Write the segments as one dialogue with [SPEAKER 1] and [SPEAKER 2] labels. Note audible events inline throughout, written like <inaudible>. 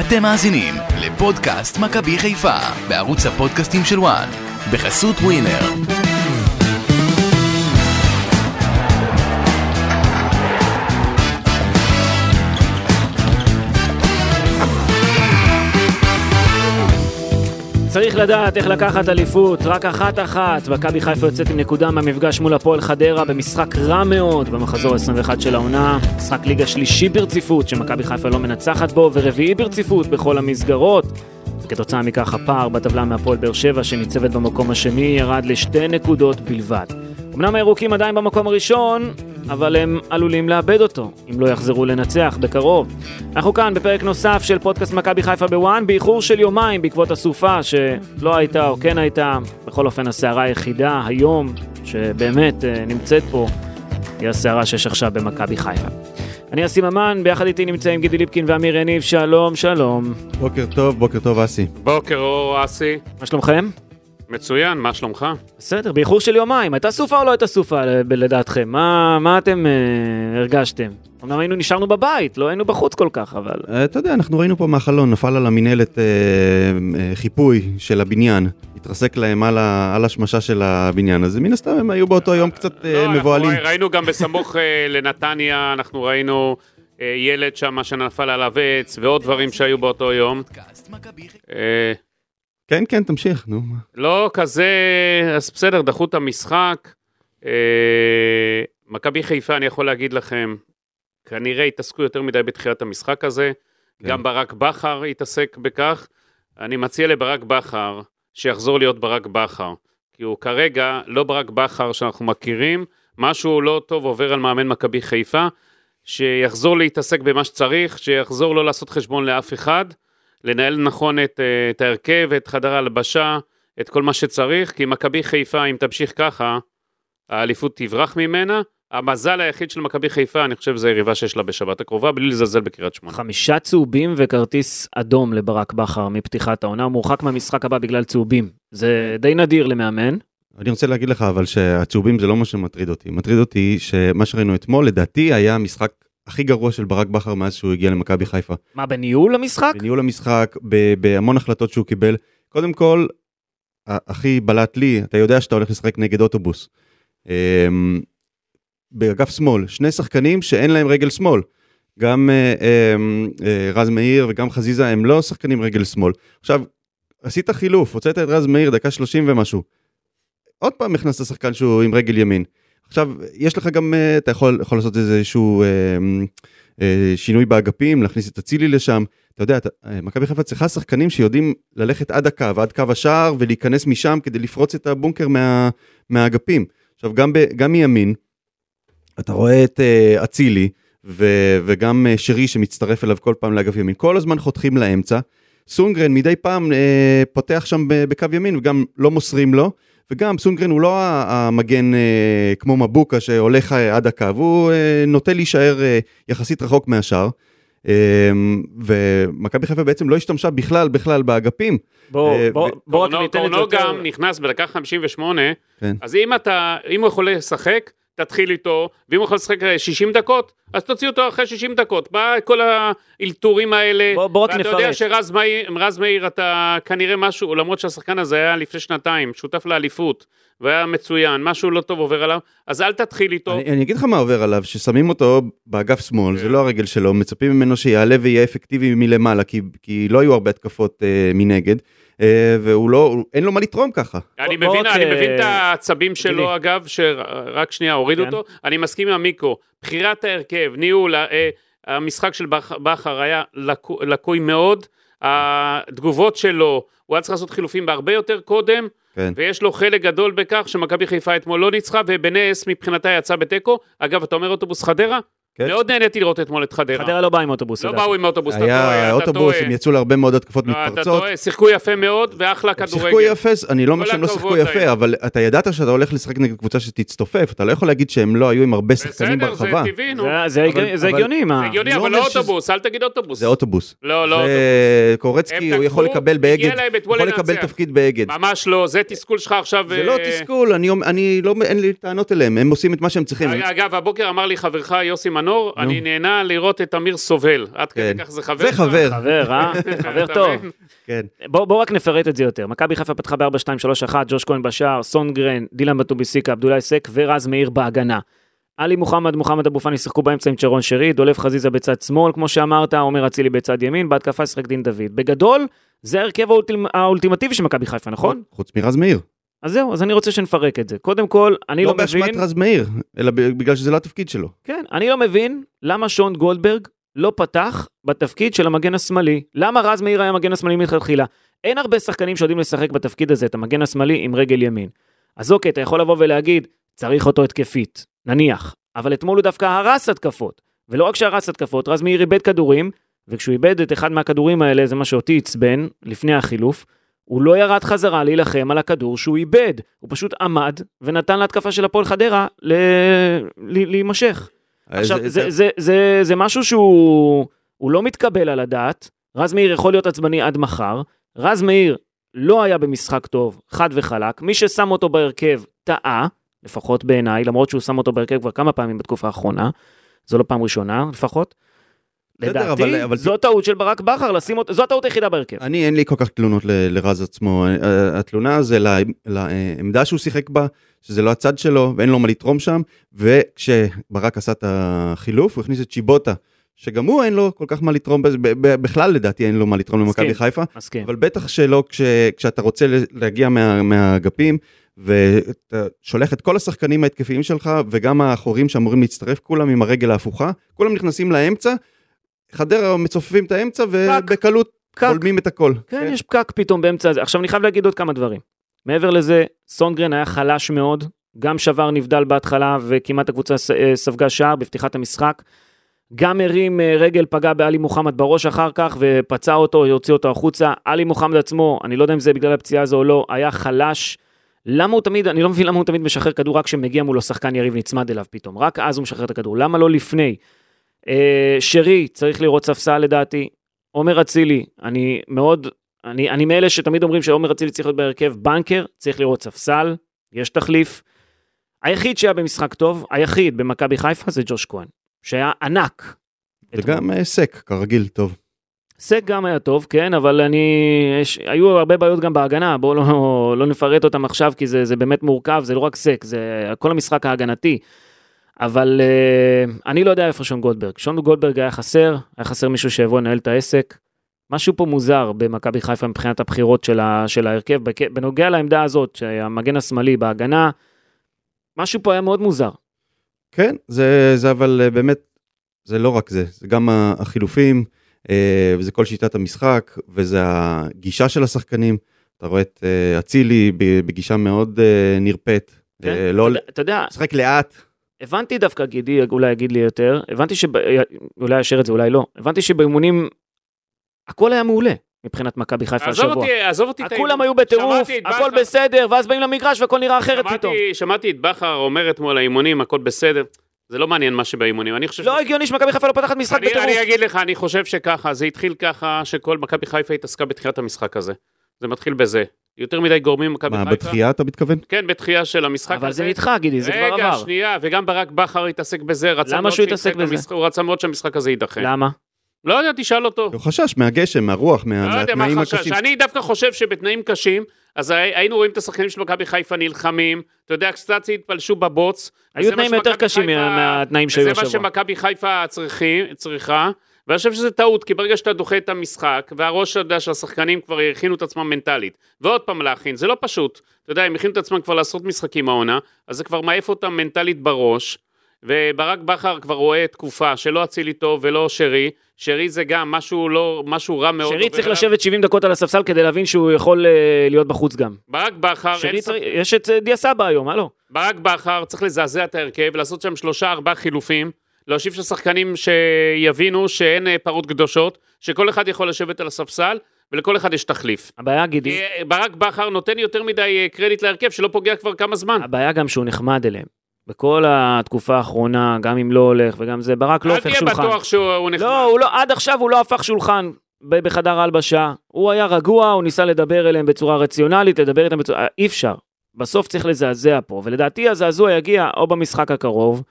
[SPEAKER 1] אתם מאזינים לפודקאסט מכבי חיפה בערוץ הפודקאסטים של וואן בחסות ווינר.
[SPEAKER 2] צריך לדעת איך לקחת אליפות, רק אחת-אחת. מכבי חיפה יוצאת עם נקודה מהמפגש מול הפועל חדרה במשחק רע מאוד במחזור 21 של העונה. משחק ליגה שלישי ברציפות שמכבי חיפה לא מנצחת בו, ורביעי ברציפות בכל המסגרות. וכתוצאה מכך הפער בטבלה מהפועל באר שבע שניצבת במקום השני ירד לשתי נקודות בלבד. אמנם הירוקים עדיין במקום הראשון, אבל הם עלולים לאבד אותו, אם לא יחזרו לנצח בקרוב. אנחנו כאן בפרק נוסף של פודקאסט מכבי חיפה בוואן, באיחור של יומיים בעקבות הסופה שלא הייתה או כן הייתה. בכל אופן, הסערה היחידה היום, שבאמת אה, נמצאת פה, היא הסערה שיש עכשיו במכבי חיפה. אני אסי ממן, ביחד איתי נמצאים גידי ליפקין ואמיר יניב, שלום, שלום.
[SPEAKER 3] בוקר טוב, בוקר טוב אסי.
[SPEAKER 4] בוקר אור אסי,
[SPEAKER 2] מה שלומכם?
[SPEAKER 4] מצוין, מה שלומך? לא,
[SPEAKER 2] בסדר, באיחור של יומיים. הייתה סופה או לא הייתה סופה ל- ב- לדעתכם? מה, מה אתם אה, הרגשתם? אמנם היינו נשארנו בבית, לא היינו בחוץ כל כך, אבל...
[SPEAKER 3] אה, אתה יודע, אנחנו ראינו פה מהחלון, נפל על המינהלת אה, אה, חיפוי של הבניין, התרסק להם על, ה, על השמשה של הבניין, אז מן הסתם הם היו באותו יום קצת אה,
[SPEAKER 4] לא, אנחנו
[SPEAKER 3] מבוהלים.
[SPEAKER 4] ראי- ראינו גם בסמוך אה, לנתניה, אנחנו ראינו אה, ילד שם שנפל עליו עץ ועוד דברים שהיו באותו יום. אה,
[SPEAKER 3] כן, כן, תמשיך, נו. מה.
[SPEAKER 4] לא כזה, אז בסדר, דחו את המשחק. אה, מכבי חיפה, אני יכול להגיד לכם, כנראה התעסקו יותר מדי בתחילת המשחק הזה.
[SPEAKER 3] כן.
[SPEAKER 4] גם ברק בכר התעסק בכך. אני מציע לברק בכר שיחזור להיות ברק בכר, כי הוא כרגע לא ברק בכר שאנחנו מכירים, משהו לא טוב עובר על מאמן מכבי חיפה, שיחזור להתעסק במה שצריך, שיחזור לא לעשות חשבון לאף אחד, לנהל נכון את, אה, את ההרכב, את חדר ההלבשה, את כל מה שצריך, כי מכבי חיפה, אם תמשיך ככה, האליפות תברח ממנה. המזל היחיד של מכבי חיפה, אני חושב, זה היריבה שיש לה בשבת הקרובה, בלי לזלזל בקריית שמונה.
[SPEAKER 2] חמישה צהובים וכרטיס אדום לברק בכר מפתיחת העונה, הוא מורחק מהמשחק הבא בגלל צהובים. זה די נדיר למאמן.
[SPEAKER 3] אני רוצה להגיד לך אבל שהצהובים זה לא מה שמטריד אותי. מטריד אותי שמה שראינו אתמול, לדעתי, היה המשחק הכי גרוע של ברק בכר מאז שהוא הגיע למכבי חיפה.
[SPEAKER 2] מה, בניהול המשחק?
[SPEAKER 3] בניהול המשחק, ב- בהמון החלטות שהוא קיבל. קודם כל, ה- הכי בלט לי, אתה יודע שאתה הולך לשחק נגד אוטובוס. אמ, באגף שמאל, שני שחקנים שאין להם רגל שמאל. גם אה, אמ, אה, רז מאיר וגם חזיזה הם לא שחקנים רגל שמאל. עכשיו, עשית חילוף, הוצאת את רז מאיר דקה 30 ומשהו. עוד פעם הכנסת שחקן שהוא עם רגל ימין. עכשיו, יש לך גם, אה, אתה יכול, יכול לעשות איזשהו אה, אה, שינוי באגפים, להכניס את אצילי לשם. אתה יודע, אתה- אה, מכבי חיפה צריכה שחקנים שיודעים ללכת עד הקו, עד קו השער, ולהיכנס משם כדי לפרוץ את הבונקר מה, מהאגפים. עכשיו, גם, ב, גם מימין, אתה רואה את אה, אצילי, ו, וגם אה, שרי שמצטרף אליו כל פעם לאגף ימין, כל הזמן חותכים לאמצע. סונגרן מדי פעם אה, פותח שם ב- בקו ימין, וגם לא מוסרים לו. וגם סונגרן הוא לא ה- המגן אה, כמו מבוקה שהולך אה, עד הקו, הוא אה, נוטה להישאר אה, יחסית רחוק מהשאר. אמ, ומכבי חיפה בעצם לא השתמשה בכלל בכלל באגפים.
[SPEAKER 2] בואו,
[SPEAKER 3] אה,
[SPEAKER 2] בואו,
[SPEAKER 3] ו-
[SPEAKER 2] בואו רק ניתן את זה
[SPEAKER 4] קורנו
[SPEAKER 2] יותר.
[SPEAKER 4] גם נכנס בדקה 58,
[SPEAKER 3] כן.
[SPEAKER 4] אז אם אתה, אם הוא יכול לשחק, תתחיל איתו, ואם הוא יכול לשחק 60 דקות, אז תוציא אותו אחרי 60 דקות. מה כל האלתורים האלה?
[SPEAKER 2] בוא- בוא רק
[SPEAKER 4] ואתה יודע
[SPEAKER 2] נפרט.
[SPEAKER 4] שרז מאיר, רז מאיר אתה כנראה משהו, למרות שהשחקן הזה היה לפני שנתיים, שותף לאליפות, והיה מצוין, משהו לא טוב עובר עליו, אז אל תתחיל איתו.
[SPEAKER 3] אני, אני אגיד לך מה עובר עליו, ששמים אותו באגף שמאל,
[SPEAKER 4] כן.
[SPEAKER 3] זה לא הרגל שלו, מצפים ממנו שיעלה ויהיה אפקטיבי מלמעלה, כי, כי לא היו הרבה התקפות אה, מנגד, אה, והוא לא, הוא- אין לו מה לתרום ככה.
[SPEAKER 4] אני
[SPEAKER 2] בוא- בוא
[SPEAKER 4] מבין,
[SPEAKER 2] רק,
[SPEAKER 4] אני
[SPEAKER 2] אה,
[SPEAKER 4] מבין את העצבים
[SPEAKER 2] גילי.
[SPEAKER 4] שלו אגב, שרק שנייה הוריד
[SPEAKER 2] כן.
[SPEAKER 4] אותו, אני מסכים עם המיקרו, בחירת ההרכב, ניהול, אה, המשחק של בכ- בכר היה לקו- לקוי מאוד, התגובות שלו, הוא היה צריך לעשות חילופים בהרבה יותר קודם,
[SPEAKER 3] כן.
[SPEAKER 4] ויש לו חלק גדול בכך שמכבי חיפה אתמול לא ניצחה, ובנס מבחינתה יצאה בתיקו, אגב, אתה אומר אוטובוס חדרה?
[SPEAKER 3] כן.
[SPEAKER 4] מאוד נהניתי לראות אתמול את חדרה.
[SPEAKER 2] חדרה לא באה עם אוטובוס.
[SPEAKER 4] לא
[SPEAKER 2] לדעתי.
[SPEAKER 4] באו עם אוטובוס, אתה טועה,
[SPEAKER 3] היה
[SPEAKER 4] אתה
[SPEAKER 3] אוטובוס,
[SPEAKER 4] טועה.
[SPEAKER 3] הם יצאו להרבה מאוד התקפות
[SPEAKER 4] לא, אתה
[SPEAKER 3] מתפרצות.
[SPEAKER 4] טועה, שיחקו יפה מאוד, ואחלה
[SPEAKER 3] הם
[SPEAKER 4] כדורגל.
[SPEAKER 3] שיחקו יפה, אני לא אומר
[SPEAKER 4] כל
[SPEAKER 3] שהם לא שיחקו
[SPEAKER 4] הכבוד להם.
[SPEAKER 3] יפה, אבל אתה ידעת שאתה הולך לשחק נגד קבוצה שתצטופף, אתה לא יכול להגיד שהם לא היו עם הרבה שחקנים
[SPEAKER 4] בסדר, זה
[SPEAKER 3] ברחבה.
[SPEAKER 4] טבעי, נו.
[SPEAKER 2] זה- זה הגיוני-
[SPEAKER 3] אבל-
[SPEAKER 2] זה הגיוני, מה?
[SPEAKER 4] הגיוני,
[SPEAKER 3] לא
[SPEAKER 4] אבל
[SPEAKER 3] אומר
[SPEAKER 4] לא
[SPEAKER 3] שזה-
[SPEAKER 4] אוטובוס, אל תגיד אוטובוס.
[SPEAKER 3] זה אוטובוס.
[SPEAKER 4] לא, לא אוטובוס.
[SPEAKER 3] זה
[SPEAKER 4] הם
[SPEAKER 3] קורצקי, הוא
[SPEAKER 4] תקפו,
[SPEAKER 3] יכול לקבל
[SPEAKER 4] הגיע
[SPEAKER 3] באגד,
[SPEAKER 4] להם אתמול
[SPEAKER 3] יכול
[SPEAKER 4] לנצח.
[SPEAKER 3] לקבל תפקיד באגד.
[SPEAKER 4] ממש לא, זה תסכול שלך עכשיו.
[SPEAKER 3] זה לא
[SPEAKER 4] אה, אה,
[SPEAKER 3] תסכול, אני, אומר- אני לא, אין לי טענות אליהם, הם עושים את מה שהם צריכים.
[SPEAKER 4] אגב, הבוקר אמר לי חברך יוסי מנור,
[SPEAKER 3] נו.
[SPEAKER 4] אני נהנה לראות את אמיר סובל. עד כדי
[SPEAKER 3] כן.
[SPEAKER 4] כך זה חבר.
[SPEAKER 3] זה חבר,
[SPEAKER 2] חבר, אה? חבר
[SPEAKER 4] <laughs> אתה
[SPEAKER 2] טוב.
[SPEAKER 4] מבין?
[SPEAKER 3] כן.
[SPEAKER 2] בואו בוא רק נפרט את זה יותר. מכבי חיפה פתחה ב-4-2-3-1, ג'וש כהן בשער, סונגרן, דילן בטוביסיקה, עבדולאי סק ורז מאיר בהגנה. עלי מוחמד, מוחמד אבו פאני שיחקו באמצע עם צ'רון שרי, דולב חזיזה בצד שמאל, כמו שאמרת, עומר אצילי בצד ימין, בהתקפה שיחק דין דוד. בגדול, זה ההרכב האולטימ... האולטימטיבי של מכבי חיפה, נכון?
[SPEAKER 3] חוץ מרז מאיר.
[SPEAKER 2] אז זהו, אז אני רוצה שנפרק את זה. קודם כל, אני לא,
[SPEAKER 3] לא
[SPEAKER 2] מבין...
[SPEAKER 3] באשמת רז מאיר, אלא ב- בגלל שזה לא התפקיד שלו.
[SPEAKER 2] כן, אני לא מבין למה שון גולדברג לא פתח בתפקיד של המגן השמאלי. למה רז מאיר היה מגן השמאלי מלכתחילה? אין הרבה שחקנים שיודעים לשחק בתפקיד הזה, את המגן השמאלי עם רגל ימין. אז אוקיי, אתה יכול לבוא ולהגיד, צריך אותו התקפית, נניח. אבל אתמול הוא דווקא הרס התקפות. ולא רק שהרס התקפות, רז מאיר איבד כדורים, וכשהוא איבד את אחד מהכדורים האלה, זה מה שאותי עצבן, לפני החילוף, הוא לא ירד חזרה להילחם על הכדור שהוא איבד. הוא פשוט עמד ונתן להתקפה של הפועל חדרה ל... ל... להימשך. עכשיו,
[SPEAKER 3] אז-
[SPEAKER 2] זה, זה, זה, זה משהו שהוא הוא לא מתקבל על הדעת. רז מאיר יכול להיות עצבני עד מחר. רז מאיר לא היה במשחק טוב, חד וחלק. מי ששם אותו בהרכב טעה, לפחות בעיניי, למרות שהוא שם אותו בהרכב כבר כמה פעמים בתקופה האחרונה. זו לא פעם ראשונה, לפחות.
[SPEAKER 3] בסדר,
[SPEAKER 2] לדעתי,
[SPEAKER 3] אבל- אבל-
[SPEAKER 2] זו טעות של ברק בכר לשים אותו, זו הטעות היחידה בהרכב.
[SPEAKER 3] אני אין לי כל כך תלונות ל- לרז עצמו, אה, אה, התלונה זה לה- לעמדה שהוא שיחק בה, שזה לא הצד שלו ואין לו מה לתרום שם, וכשברק עשה את החילוף הוא הכניס את צ'יבוטה, שגם הוא אין לו כל כך מה לתרום, בזה, ב- ב- בכלל לדעתי אין לו מה לתרום למכבי
[SPEAKER 2] מסכים.
[SPEAKER 3] חיפה,
[SPEAKER 2] מסכים.
[SPEAKER 3] אבל בטח שלא כש, כשאתה רוצה ל- להגיע מה, מהאגפים ואתה שולח את כל השחקנים ההתקפיים שלך וגם האחורים שאמורים להצטרף כולם עם הרגל ההפוכה, כולם נכנסים לאמצע, חדרה מצופפים את האמצע ובקלות
[SPEAKER 2] פקק.
[SPEAKER 3] בולמים את הכל.
[SPEAKER 2] כן, יש פקק פתאום באמצע הזה. עכשיו אני חייב להגיד עוד כמה דברים. מעבר לזה, סונגרן היה חלש מאוד, גם שבר נבדל בהתחלה וכמעט הקבוצה ס- אה, ספגה שער בפתיחת המשחק. גם הרים אה, רגל, פגע בעלי מוחמד בראש אחר כך ופצע אותו, הוציא אותו החוצה. עלי מוחמד עצמו, אני לא יודע אם זה בגלל הפציעה הזו או לא, היה חלש. למה הוא תמיד, אני לא מבין למה הוא תמיד משחרר כדור רק כשמגיע מולו שחקן יריב נצמד אליו פתאום, רק אז הוא משחרר את הכדור, למה לא לפני? אה, שרי, צריך לראות ספסל לדעתי. עומר אצילי, אני מאוד אני, אני מאלה שתמיד אומרים שעומר אצילי צריך להיות בהרכב בנקר, צריך לראות ספסל, יש תחליף. היחיד שהיה במשחק טוב, היחיד במכבי חיפה זה ג'וש כהן, שהיה ענק. אתמול.
[SPEAKER 3] וגם אה, סק, כרגיל, טוב.
[SPEAKER 2] סק גם היה טוב, כן, אבל אני... יש, היו הרבה בעיות גם בהגנה, בואו לא, לא נפרט אותם עכשיו, כי זה, זה באמת מורכב, זה לא רק סק, זה כל המשחק ההגנתי. אבל uh, אני לא יודע איפה שון גולדברג. שון גולדברג היה חסר, היה חסר מישהו שיבוא לנהל את העסק. משהו פה מוזר במכבי חיפה מבחינת הבחירות של, ה, של ההרכב. בק- בנוגע לעמדה הזאת, שהמגן השמאלי בהגנה, משהו פה היה מאוד מוזר.
[SPEAKER 3] כן, זה, זה אבל אה, באמת, זה לא רק זה, זה גם ה- החילופים, אה, וזה כל שיטת המשחק, וזה הגישה של השחקנים. אתה רואה את אה, אצילי ב- בגישה מאוד אה, נרפית.
[SPEAKER 2] כן,
[SPEAKER 3] אה, לא,
[SPEAKER 2] אתה, יודע- אתה יודע,
[SPEAKER 3] משחק לאט.
[SPEAKER 2] הבנתי דווקא, גידי אולי יגיד לי יותר, הבנתי שב... אולי יאשר את זה, אולי לא. הבנתי שבאימונים הכל היה מעולה מבחינת מכבי חיפה
[SPEAKER 4] עזוב
[SPEAKER 2] השבוע.
[SPEAKER 4] אותי, עזוב אותי. את
[SPEAKER 2] כולם
[SPEAKER 4] ה-
[SPEAKER 2] היו בטירוף,
[SPEAKER 4] שמעתי את
[SPEAKER 2] הכל
[SPEAKER 4] בכר.
[SPEAKER 2] בסדר, ואז באים למגרש והכל נראה אחרת
[SPEAKER 4] שמעתי-
[SPEAKER 2] פתאום.
[SPEAKER 4] שמעתי את בכר אומר אתמול האימונים, הכל בסדר. זה לא מעניין מה שבאימונים. אני חושב...
[SPEAKER 2] לא הגיוני שמכבי חיפה לא פתחת משחק
[SPEAKER 4] אני-
[SPEAKER 2] בטירוף.
[SPEAKER 4] אני אגיד לך, אני חושב שככה, זה התחיל ככה, שכל מכבי חיפה התעסקה בתחילת המשחק הזה. זה מתחיל בזה. יותר מדי גורמים במכבי
[SPEAKER 3] מה,
[SPEAKER 4] חיפה.
[SPEAKER 3] בתחייה אתה מתכוון?
[SPEAKER 4] כן, בתחייה של המשחק
[SPEAKER 2] אבל זה
[SPEAKER 4] הזה.
[SPEAKER 2] נדחה, גידי, זה כבר
[SPEAKER 4] רגע,
[SPEAKER 2] עבר.
[SPEAKER 4] שנייה, וגם ברק בכר התעסק בזה, רצה
[SPEAKER 2] למה
[SPEAKER 4] מאוד
[SPEAKER 2] שהוא
[SPEAKER 4] שידחה
[SPEAKER 2] יתעסק
[SPEAKER 4] את
[SPEAKER 2] בזה?
[SPEAKER 4] המשחק- הוא רצה מאוד שהמשחק הזה יידחה.
[SPEAKER 2] למה?
[SPEAKER 4] לא יודע, תשאל אותו.
[SPEAKER 3] הוא חשש מהגשם, מהרוח, מה-
[SPEAKER 4] לא יודע מה
[SPEAKER 3] מהתנאים
[SPEAKER 4] החשש.
[SPEAKER 3] הקשים.
[SPEAKER 4] אני דווקא חושב שבתנאים קשים, אז הי- היינו רואים את השחקנים של מכבי חיפה נלחמים, אתה יודע, קצת התפלשו בבוץ.
[SPEAKER 2] היו
[SPEAKER 4] וזה מה
[SPEAKER 2] תנאים יותר
[SPEAKER 4] שמכבי
[SPEAKER 2] קשים
[SPEAKER 4] חיפה-
[SPEAKER 2] מהתנאים שהיו
[SPEAKER 4] וזה מה
[SPEAKER 2] השבוע.
[SPEAKER 4] שמכבי חיפה צריכים- צריכה, ואני חושב שזה טעות, כי ברגע שאתה דוחה את המשחק, והראש אתה יודע שהשחקנים כבר הכינו את עצמם מנטלית, ועוד פעם להכין, זה לא פשוט. אתה יודע, הם הכינו את עצמם כבר לעשרות משחקים העונה, אז זה כבר מעיף אותם מנטלית בראש. וברק בכר כבר רואה תקופה שלא אצילי טוב ולא שרי, שרי זה גם משהו לא, משהו רע מאוד.
[SPEAKER 2] שרי
[SPEAKER 4] עובר
[SPEAKER 2] צריך
[SPEAKER 4] עליו.
[SPEAKER 2] לשבת 70 דקות על הספסל כדי להבין שהוא יכול אה, להיות בחוץ גם.
[SPEAKER 4] ברק בכר, אין
[SPEAKER 2] שרי
[SPEAKER 4] ספק-
[SPEAKER 2] צריך- יש את אה, דיה סבא היום, הלו.
[SPEAKER 4] ברק בכר צריך לזעזע את ההרכב, לעשות שם שלושה ארבעה חילופים, להושיב שם שחקנים שיבינו שאין אה, פרות קדושות, שכל אחד יכול לשבת על הספסל ולכל אחד יש תחליף.
[SPEAKER 2] הבעיה, גידי,
[SPEAKER 4] כי, אה, ברק בכר נותן יותר מדי אה, קרדיט להרכב שלא פוגע כבר כמה זמן.
[SPEAKER 2] הבעיה גם שהוא נחמד אליהם. בכל התקופה האחרונה, גם אם לא הולך וגם זה, ברק לא
[SPEAKER 4] אל
[SPEAKER 2] הופך
[SPEAKER 4] תהיה
[SPEAKER 2] שולחן.
[SPEAKER 4] בטוח שהוא הוא נחמד.
[SPEAKER 2] לא, הוא לא, עד עכשיו הוא לא הפך שולחן ב- בחדר ההלבשה. הוא היה רגוע, הוא ניסה לדבר אליהם בצורה רציונלית, לדבר איתם בצורה... אי אפשר. בסוף צריך לזעזע פה, ולדעתי הזעזוע יגיע או במשחק הקרוב,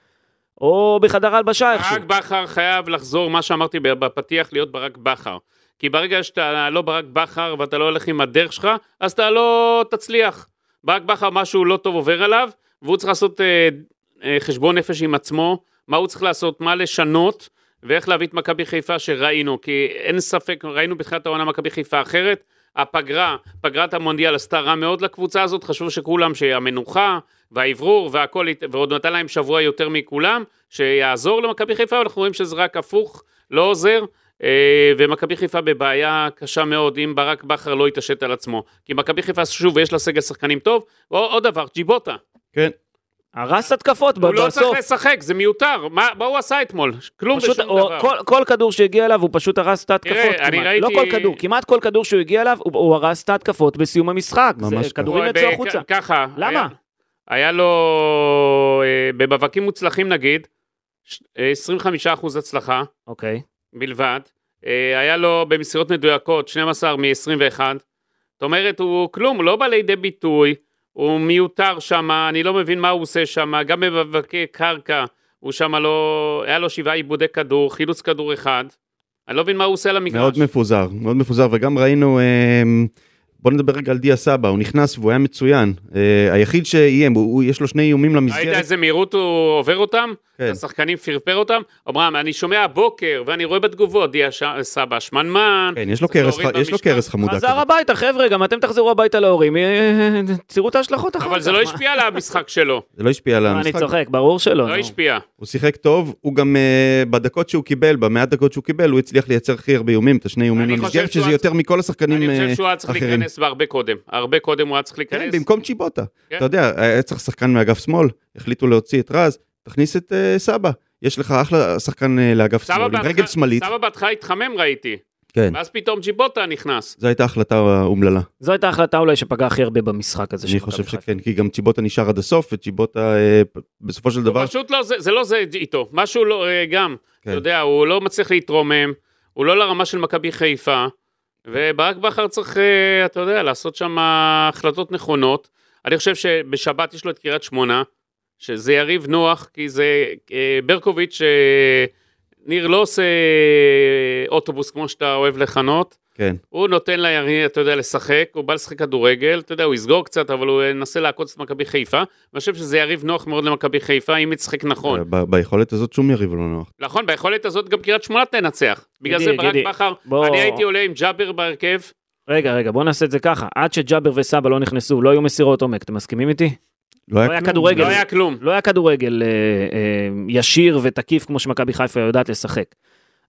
[SPEAKER 2] או בחדר ההלבשה איכשהו.
[SPEAKER 4] ברק בכר חייב לחזור, מה שאמרתי בפתיח, להיות ברק בכר. כי ברגע שאתה לא ברק בכר ואתה לא הולך עם הדרך שלך, אז אתה לא תצליח. ברק בכר, משהו לא טוב עובר עליו, והוא צריך לעשות אה, אה, חשבון נפש עם עצמו, מה הוא צריך לעשות, מה לשנות, ואיך להביא את מכבי חיפה שראינו. כי אין ספק, ראינו בתחילת העונה מכבי חיפה אחרת. הפגרה, פגרת המונדיאל עשתה רע מאוד לקבוצה הזאת, חשבו שכולם, שהמנוחה והאוורור והכל, הת- ועוד נתן להם שבוע יותר מכולם, שיעזור למכבי חיפה, אבל אנחנו רואים שזה רק הפוך, לא עוזר, אה, ומכבי חיפה בבעיה קשה מאוד, אם ברק בכר לא יתעשת על עצמו. כי מכבי חיפה, שוב, יש לה סגל שחקנים טוב, ועוד עוד דבר, ג'יבוטה.
[SPEAKER 3] כן,
[SPEAKER 2] הרס התקפות ב-
[SPEAKER 4] הוא לא
[SPEAKER 2] בסוף.
[SPEAKER 4] צריך לשחק, זה מיותר, מה מה הוא עשה אתמול? כלום
[SPEAKER 2] פשוט,
[SPEAKER 4] ושום
[SPEAKER 2] או,
[SPEAKER 4] לא דבר.
[SPEAKER 2] כל, כל כדור שהגיע אליו, הוא פשוט הרס את ההתקפות
[SPEAKER 4] תראה, אני
[SPEAKER 2] כמעט.
[SPEAKER 4] ראיתי-
[SPEAKER 2] לא כל כדור, כמעט כל כדור שהוא הגיע אליו, הוא, הוא הרס את ההתקפות בסיום המשחק. זה,
[SPEAKER 3] ממש ככה.
[SPEAKER 2] כדורים
[SPEAKER 4] הוא
[SPEAKER 2] יצאו
[SPEAKER 4] ב-
[SPEAKER 2] החוצה.
[SPEAKER 4] כ- ככה.
[SPEAKER 2] למה?
[SPEAKER 4] היה- היה לו, אה, במאבקים מוצלחים נגיד, ש- אה, 25% הצלחה.
[SPEAKER 2] אוקיי.
[SPEAKER 4] בלבד. אה, היה לו במסירות מדויקות 12 מ-21. זאת אומרת, הוא כלום, הוא לא בא לידי ביטוי, הוא מיותר שם, אני לא מבין מה הוא עושה שם, גם במאבקי קרקע, הוא שם לא... היה לו שבעה עיבודי כדור, חילוץ כדור אחד. אני לא מבין מה הוא עושה על המגרש.
[SPEAKER 3] מאוד מפוזר, מאוד מפוזר, וגם ראינו, אה, בוא נדבר רגע על דיה סבא, הוא נכנס והוא היה מצוין. אה, היחיד שאיים, הוא- הוא- יש לו שני איומים
[SPEAKER 4] ראית
[SPEAKER 3] למסגרת.
[SPEAKER 4] איזה מהירות הוא עובר אותם?
[SPEAKER 3] כן.
[SPEAKER 4] כן. השחקנים פרפר אותם? אברהם, אני שומע הבוקר, ואני רואה בתגובות, דיה ש... סבא שמנמן.
[SPEAKER 3] כן, יש לו
[SPEAKER 4] צריך
[SPEAKER 3] קרס
[SPEAKER 4] להוריד
[SPEAKER 3] ח- יש לו
[SPEAKER 4] במשקל.
[SPEAKER 3] קרס חמודה.
[SPEAKER 2] חזר
[SPEAKER 3] כזאת.
[SPEAKER 2] הביתה, חבר'ה, גם אתם תחזרו הביתה להורים, אה, תראו את ההשלכות אחר כך.
[SPEAKER 4] אבל זה לא
[SPEAKER 2] מה?
[SPEAKER 4] השפיע על המשחק שלו,
[SPEAKER 3] זה לא השפיע על
[SPEAKER 2] לא, אני
[SPEAKER 3] המשחק,
[SPEAKER 2] צוחק, ברור שלא.
[SPEAKER 4] לא
[SPEAKER 2] נו.
[SPEAKER 4] השפיע.
[SPEAKER 3] הוא שיחק טוב, הוא גם אה, בדקות שהוא קיבל, במעט דקות שהוא קיבל, הוא הצליח לייצר הכי הרבה איומים, את השני איומים
[SPEAKER 4] אני חושב
[SPEAKER 3] למסגרת,
[SPEAKER 4] שהוא
[SPEAKER 3] שזה
[SPEAKER 4] היה-
[SPEAKER 3] יותר מכל השחקנים
[SPEAKER 4] אני חושב
[SPEAKER 3] אה,
[SPEAKER 4] שהוא היה צריך
[SPEAKER 3] אחרים.
[SPEAKER 4] להיכנס בהרבה קודם. הרבה קודם הוא היה צריך
[SPEAKER 3] כן,
[SPEAKER 4] להיכנס.
[SPEAKER 3] במקום צ'יבוטה.
[SPEAKER 4] כן.
[SPEAKER 3] אתה יודע, היה צריך שחקן מאגף שמאל, החליטו להוציא את רז, תכניס את אה, סבא. יש לך אחלה שחקן אה, לאגף
[SPEAKER 4] סבא
[SPEAKER 3] שמאל, עם
[SPEAKER 4] בהתחלה-
[SPEAKER 3] רגל שמאלית.
[SPEAKER 4] סבא בהתחלה התחמם ראיתי,
[SPEAKER 3] כן,
[SPEAKER 4] ואז פתאום ג'יבוטה נכנס.
[SPEAKER 3] זו הייתה החלטה אומללה.
[SPEAKER 2] זו הייתה ההחלטה אולי שפגעה הכי הרבה במשחק הזה. של
[SPEAKER 3] אני
[SPEAKER 2] מכבי
[SPEAKER 3] חושב
[SPEAKER 2] חיפה.
[SPEAKER 3] שכן, כי גם צ'יבוטה נשאר עד הסוף, וצ'יבוטה אה, פ- בסופו של דבר...
[SPEAKER 4] הוא פשוט לא, זה, זה לא זה איתו, משהו לא, אה, גם,
[SPEAKER 3] כן.
[SPEAKER 4] אתה יודע, הוא לא מצליח להתרומם, הוא לא לרמה של מכבי חיפה, וברק בכר צריך, אה, אתה יודע, לעשות שם החלטות נכונות. אני חושב שבשבת יש לו את קריית שמונה, שזה יריב נוח, כי זה אה, ברקוביץ', אה, ניר לא עושה אה, אוטובוס כמו שאתה אוהב לכנות.
[SPEAKER 3] כן,
[SPEAKER 4] הוא נותן ליריב, אתה יודע, לשחק, הוא בא לשחק כדורגל, אתה יודע, הוא יסגור קצת, אבל הוא ינסה לעקוץ את מכבי חיפה. ואני חושב שזה יריב נוח מאוד למכבי חיפה, אם היא תשחק נכון.
[SPEAKER 3] אה, ב- ביכולת הזאת שום יריב לא נוח.
[SPEAKER 4] נכון, ביכולת הזאת גם קריית שמונה תנצח. בגלל
[SPEAKER 2] גידי,
[SPEAKER 4] זה ברק
[SPEAKER 2] גידי,
[SPEAKER 4] בכר,
[SPEAKER 2] בוא.
[SPEAKER 4] אני הייתי עולה עם ג'אבר בהרכב.
[SPEAKER 2] רגע, רגע, בוא נעשה את זה ככה. עד שג'אבר וסבא לא נכנסו, לא היו מסירות עומק, אתם מסכימים איתי? לא היה
[SPEAKER 3] כלום.
[SPEAKER 2] כדורגל.
[SPEAKER 4] לא היה כלום.
[SPEAKER 2] לא היה כדורגל אה, אה, ישיר ותקיף כמו שמכבי חיפה יודעת לשחק.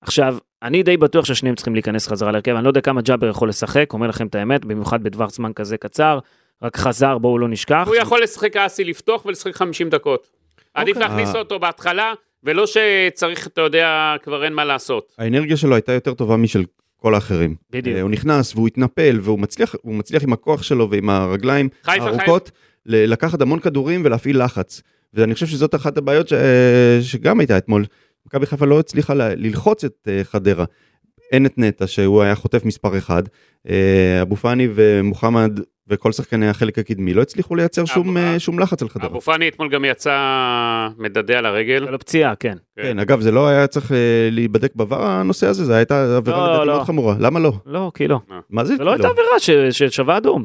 [SPEAKER 2] עכשיו, אני די בטוח ששניהם צריכים להיכנס חזרה להרכב, אני לא יודע כמה ג'אבר יכול לשחק, אומר לכם את האמת, במיוחד בטווח זמן כזה קצר, רק חזר, בואו לא נשכח.
[SPEAKER 4] הוא יכול לשחק אסי לפתוח ולשחק 50 דקות. עדיף
[SPEAKER 2] אוקיי.
[SPEAKER 4] להכניס
[SPEAKER 3] אה.
[SPEAKER 4] אותו בהתחלה, ולא שצריך, אתה יודע, כבר אין מה לעשות.
[SPEAKER 3] האנרגיה שלו הייתה יותר טובה משל כל האחרים.
[SPEAKER 2] בדיוק.
[SPEAKER 3] אה, הוא נכנס והוא התנפל והוא מצליח, הוא מצליח עם הכוח שלו ועם הרגליים
[SPEAKER 4] חיפה,
[SPEAKER 3] הארוכות ל- לקחת המון כדורים ולהפעיל לחץ. ואני חושב שזאת אחת הבעיות ש... אה, שגם הייתה אתמול. מכבי חיפה לא הצליחה ל- ללחוץ את אה, חדרה. אין את נטע שהוא היה חוטף מספר אחד. אה, אבו פאני ומוחמד וכל שחקני החלק הקדמי לא הצליחו לייצר שום, אה, שום לחץ על חדרה.
[SPEAKER 4] אבו פאני אתמול גם יצא מדדה על הרגל.
[SPEAKER 2] היה לו פציעה, כן.
[SPEAKER 3] כן, אגב, זה לא היה צריך אה, להיבדק בעבר הנושא הזה, זה הייתה עבירה
[SPEAKER 2] לא,
[SPEAKER 3] לדעתי
[SPEAKER 2] לא.
[SPEAKER 3] מאוד חמורה. למה לא?
[SPEAKER 2] לא, כי לא.
[SPEAKER 3] מה זה?
[SPEAKER 2] זה לא
[SPEAKER 3] כאילו?
[SPEAKER 2] הייתה עבירה ש- ששווה אדום.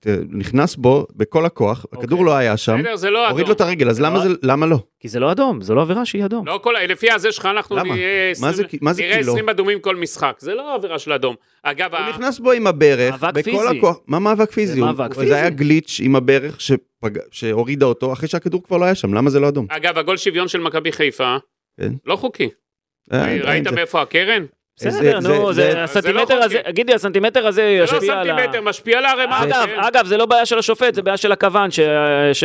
[SPEAKER 3] ת- אה, נכנס בו בכל הכוח, הכדור לא היה שם,
[SPEAKER 4] בסדר, זה לא
[SPEAKER 3] הוריד לו
[SPEAKER 4] אדום.
[SPEAKER 3] את הרגל, אז למה
[SPEAKER 2] לא-
[SPEAKER 3] זה, למה לא?
[SPEAKER 2] כי זה לא אדום, זו לא עבירה שהיא אדום.
[SPEAKER 4] לא כל, לפי הזה שלך אנחנו
[SPEAKER 3] למה?
[SPEAKER 4] נהיה
[SPEAKER 3] מה זה
[SPEAKER 4] 20
[SPEAKER 3] כי- מה זה
[SPEAKER 4] נראה
[SPEAKER 3] כי לא?
[SPEAKER 4] 20 אדומים כל משחק, זה לא עבירה של אדום. אגב,
[SPEAKER 3] הוא
[SPEAKER 4] ה-
[SPEAKER 3] נכנס בו עם הברך,
[SPEAKER 2] מאבק
[SPEAKER 3] בכל
[SPEAKER 2] פיזי.
[SPEAKER 3] הכוח, מה מאבק פיזי? הוא-
[SPEAKER 2] מאבק
[SPEAKER 3] הוא-
[SPEAKER 2] פיזי.
[SPEAKER 3] זה היה גליץ' עם הברך שפג- שהורידה אותו אחרי שהכדור כבר לא היה שם, למה זה לא אדום?
[SPEAKER 4] אגב, הגול שוויון של מכבי חיפה,
[SPEAKER 3] כן.
[SPEAKER 4] לא חוקי.
[SPEAKER 3] אה,
[SPEAKER 4] ראית
[SPEAKER 3] זה-
[SPEAKER 4] מאיפה הקרן?
[SPEAKER 2] בסדר,
[SPEAKER 3] זה-
[SPEAKER 2] נו,
[SPEAKER 3] זה-
[SPEAKER 2] זה-
[SPEAKER 3] זה-
[SPEAKER 4] זה
[SPEAKER 2] הסנטימטר
[SPEAKER 4] לא
[SPEAKER 2] הזה,
[SPEAKER 4] חוקי.
[SPEAKER 2] גידי, הסנטימטר הזה
[SPEAKER 4] זה לא
[SPEAKER 2] ישפיע על ה...
[SPEAKER 4] סנטימטר, משפיע על הערימה.
[SPEAKER 2] אגב,
[SPEAKER 4] כן.
[SPEAKER 2] אגב, זה לא בעיה של השופט, זה בעיה של הכוון, ש... ש-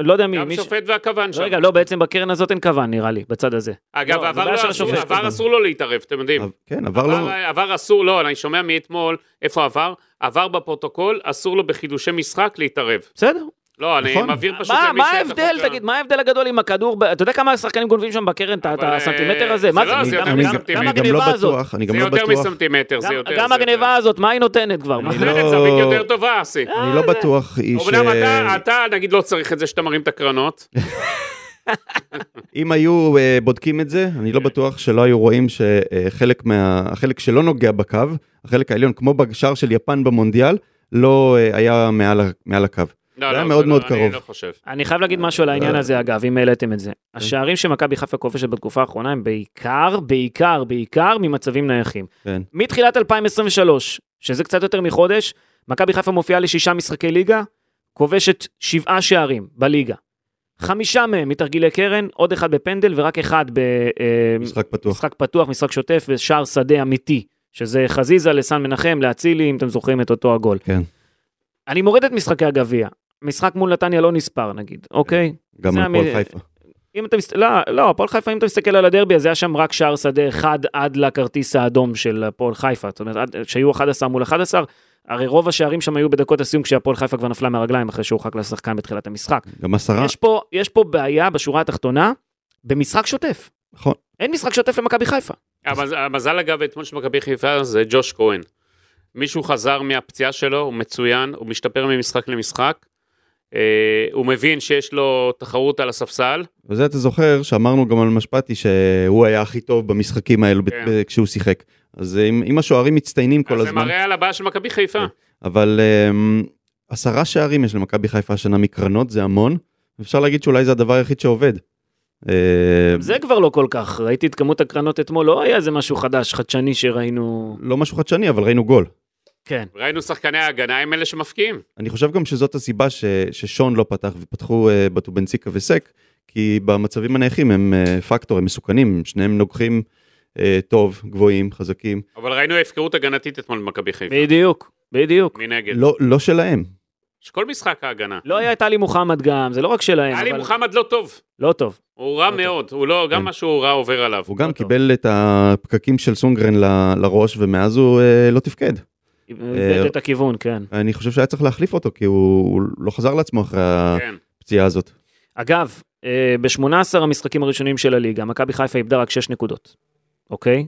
[SPEAKER 2] לא יודע מי.
[SPEAKER 4] גם
[SPEAKER 2] מי ש-
[SPEAKER 4] שופט והכוון
[SPEAKER 2] לא,
[SPEAKER 4] שם.
[SPEAKER 2] רגע, לא, בעצם בקרן הזאת אין כוון, נראה לי, בצד הזה.
[SPEAKER 4] אגב,
[SPEAKER 2] לא, זה
[SPEAKER 4] עבר
[SPEAKER 2] בעיה של
[SPEAKER 4] לא אסור-
[SPEAKER 2] השופט,
[SPEAKER 4] עבר
[SPEAKER 3] אבל.
[SPEAKER 4] אסור לו להתערב, אתם יודעים.
[SPEAKER 3] כן, עבר לו,
[SPEAKER 4] עבר עבר אסור, לא, אני שומע מאתמול, איפה עבר? עבר בפרוטוקול, אסור לו בחידושי משחק להתערב.
[SPEAKER 2] בסדר.
[SPEAKER 4] לא, אני
[SPEAKER 3] נכון.
[SPEAKER 4] מבהיר פשוט
[SPEAKER 2] מה
[SPEAKER 4] למי
[SPEAKER 2] מה
[SPEAKER 4] שאת
[SPEAKER 2] ההבדל,
[SPEAKER 4] החוק ה-
[SPEAKER 2] תגיד, מה ההבדל הגדול עם הכדור? ב- אתה יודע כמה השחקנים גונבים שם בקרן את ה- את
[SPEAKER 4] אבל,
[SPEAKER 2] הסנטימטר
[SPEAKER 4] אה,
[SPEAKER 2] הזה?
[SPEAKER 4] זה
[SPEAKER 2] מה
[SPEAKER 4] לא, זה
[SPEAKER 2] גם-
[SPEAKER 4] יותר
[SPEAKER 2] גם-
[SPEAKER 4] מסנטימטר.
[SPEAKER 2] גם
[SPEAKER 3] אני גם לא
[SPEAKER 2] הגניבה הזאת.
[SPEAKER 3] בטוח, אני גם
[SPEAKER 4] זה
[SPEAKER 3] לא
[SPEAKER 4] יותר
[SPEAKER 3] בטוח,
[SPEAKER 4] מסנטימטר, זה
[SPEAKER 2] גם-
[SPEAKER 4] יותר...
[SPEAKER 2] גם
[SPEAKER 4] זה יותר.
[SPEAKER 2] הגניבה הזאת, מה היא נותנת כבר? מה-
[SPEAKER 3] לא-
[SPEAKER 4] אחרת זווית יותר טובה, אסי.
[SPEAKER 3] אה. אני לא בטוח איש... <laughs>
[SPEAKER 4] אומנם אתה, אתה נגיד לא צריך את זה שאתה מרים את הקרנות,
[SPEAKER 3] אם היו אה, בודקים את זה, אני לא
[SPEAKER 2] כן.
[SPEAKER 3] בטוח שלא היו רואים שחלק מה... החלק שלא נוגע בקו, החלק העליון, כמו בשער של יפן במונדיאל, לא אה, היה מעל, ה- מעל הקו.
[SPEAKER 4] לא,
[SPEAKER 3] זה היה
[SPEAKER 4] לא,
[SPEAKER 3] מאוד
[SPEAKER 4] זה
[SPEAKER 3] מאוד
[SPEAKER 4] לא-
[SPEAKER 3] קרוב.
[SPEAKER 4] אני לא חושב.
[SPEAKER 2] אני חייב להגיד משהו על העניין
[SPEAKER 3] אה.
[SPEAKER 2] הזה, אגב, אם העליתם את זה. השערים שמכבי חיפה כובשת בתקופה האחרונה הם בעיקר, בעיקר, בעיקר ממצבים נייחים.
[SPEAKER 3] כן.
[SPEAKER 2] מתחילת 2023, שזה קצת יותר מחודש, מכבי חיפה מופיעה לשישה משחקי ליגה, כובשת שבעה שערים בליגה. חמישה מהם מתרגילי קרן, עוד אחד בפנדל ורק אחד ב... אה,
[SPEAKER 3] משחק פתוח.
[SPEAKER 2] משחק פתוח, משחק שוטף ושער שדה אמיתי, שזה חזיזה לסן מנחם, לאצילי, אם אתם זוכרים את אותו הגול.
[SPEAKER 3] כן.
[SPEAKER 2] אני מורד את משחקי הגביע. משחק מול נתניה לא נספר נגיד, אוקיי?
[SPEAKER 3] גם
[SPEAKER 2] זה
[SPEAKER 3] על הפועל
[SPEAKER 2] המ-
[SPEAKER 3] חיפה.
[SPEAKER 2] אם אתה מסתכל, לא, לא, הפועל חיפה, אם אתה מסתכל על הדרבי, אז היה שם רק שער שדה אחד עד לכרטיס האדום של הפועל חיפה. זאת אומרת, עד- שהיו 11 מול 11, הרי רוב השערים שם היו בדקות הסיום כשהפועל חיפה כבר נפלה מהרגליים אחרי שהורחק לשחקן בתחילת המשחק.
[SPEAKER 3] גם עשרה,
[SPEAKER 2] יש פה, יש פה בעיה בשורה התחתונה, במשחק שוטף.
[SPEAKER 3] נכון.
[SPEAKER 2] אין משחק שוטף למכבי חיפה.
[SPEAKER 4] המז- המזל אגב אתמול של מכבי חיפה זה ג'וש כהן. מישהו חזר מהפציעה שלו, הוא מצוין, הוא משתפר ממשחק למשחק. אה, הוא מבין שיש לו תחרות על הספסל.
[SPEAKER 3] וזה אתה זוכר שאמרנו גם על משפטי שהוא היה הכי טוב במשחקים האלו ב-
[SPEAKER 4] כן.
[SPEAKER 3] ב- כשהוא שיחק. אז אה, אם, אם השוערים מצטיינים כל
[SPEAKER 4] אז זה
[SPEAKER 3] הזמן, כן.
[SPEAKER 4] מראה על הבעיה של מכבי חיפה.
[SPEAKER 3] אבל אמ, עשרה שערים יש למכבי חיפה השנה מקרנות, זה המון. אפשר להגיד שאולי זה הדבר היחיד שעובד. אה,
[SPEAKER 2] זה כבר לא כל כך, ראיתי את כמות הקרנות אתמול, לא היה איזה משהו חדש, חדשני שראינו...
[SPEAKER 3] לא משהו חדשני, אבל ראינו גול.
[SPEAKER 2] כן.
[SPEAKER 4] ראינו שחקני ההגנה הם אלה שמפקיעים.
[SPEAKER 3] אני חושב גם שזאת הסיבה ש, ששון לא פתח ופתחו אה, בטובנציקה וסק, כי במצבים הנייחים הם אה, פקטור, הם מסוכנים, שניהם נוגחים אה, טוב, גבוהים, חזקים.
[SPEAKER 4] אבל ראינו הפקרות הגנתית אתמול במכבי חיפה.
[SPEAKER 2] בדיוק, בדיוק.
[SPEAKER 4] מנגד.
[SPEAKER 3] לא, לא שלהם.
[SPEAKER 4] שכל משחק ההגנה.
[SPEAKER 2] לא היה את עלי מוחמד גם, זה לא רק
[SPEAKER 3] כן,
[SPEAKER 2] שלהם,
[SPEAKER 4] עלי
[SPEAKER 2] אבל...
[SPEAKER 4] מוחמד לא טוב.
[SPEAKER 2] לא טוב.
[SPEAKER 4] הוא רע
[SPEAKER 2] לא
[SPEAKER 4] מאוד. הוא לא, גם
[SPEAKER 3] כן.
[SPEAKER 4] מה שהוא רע עובר עליו. כן.
[SPEAKER 3] הוא גם
[SPEAKER 2] טוב.
[SPEAKER 3] קיבל את הפקקים של סונגרן ל- לראש, ומאז הוא אה, לא תפקד.
[SPEAKER 2] איבד את הכיוון, כן.
[SPEAKER 3] אני חושב שהיה צריך להחליף אותו, כי הוא הוא לא חזר לעצמו אחרי
[SPEAKER 4] כן.
[SPEAKER 3] הפציעה הזאת.
[SPEAKER 2] אגב, ב-18 המשחקים הראשונים של הליגה, מכבי חיפה איבדה רק 6 נקודות, אוקיי?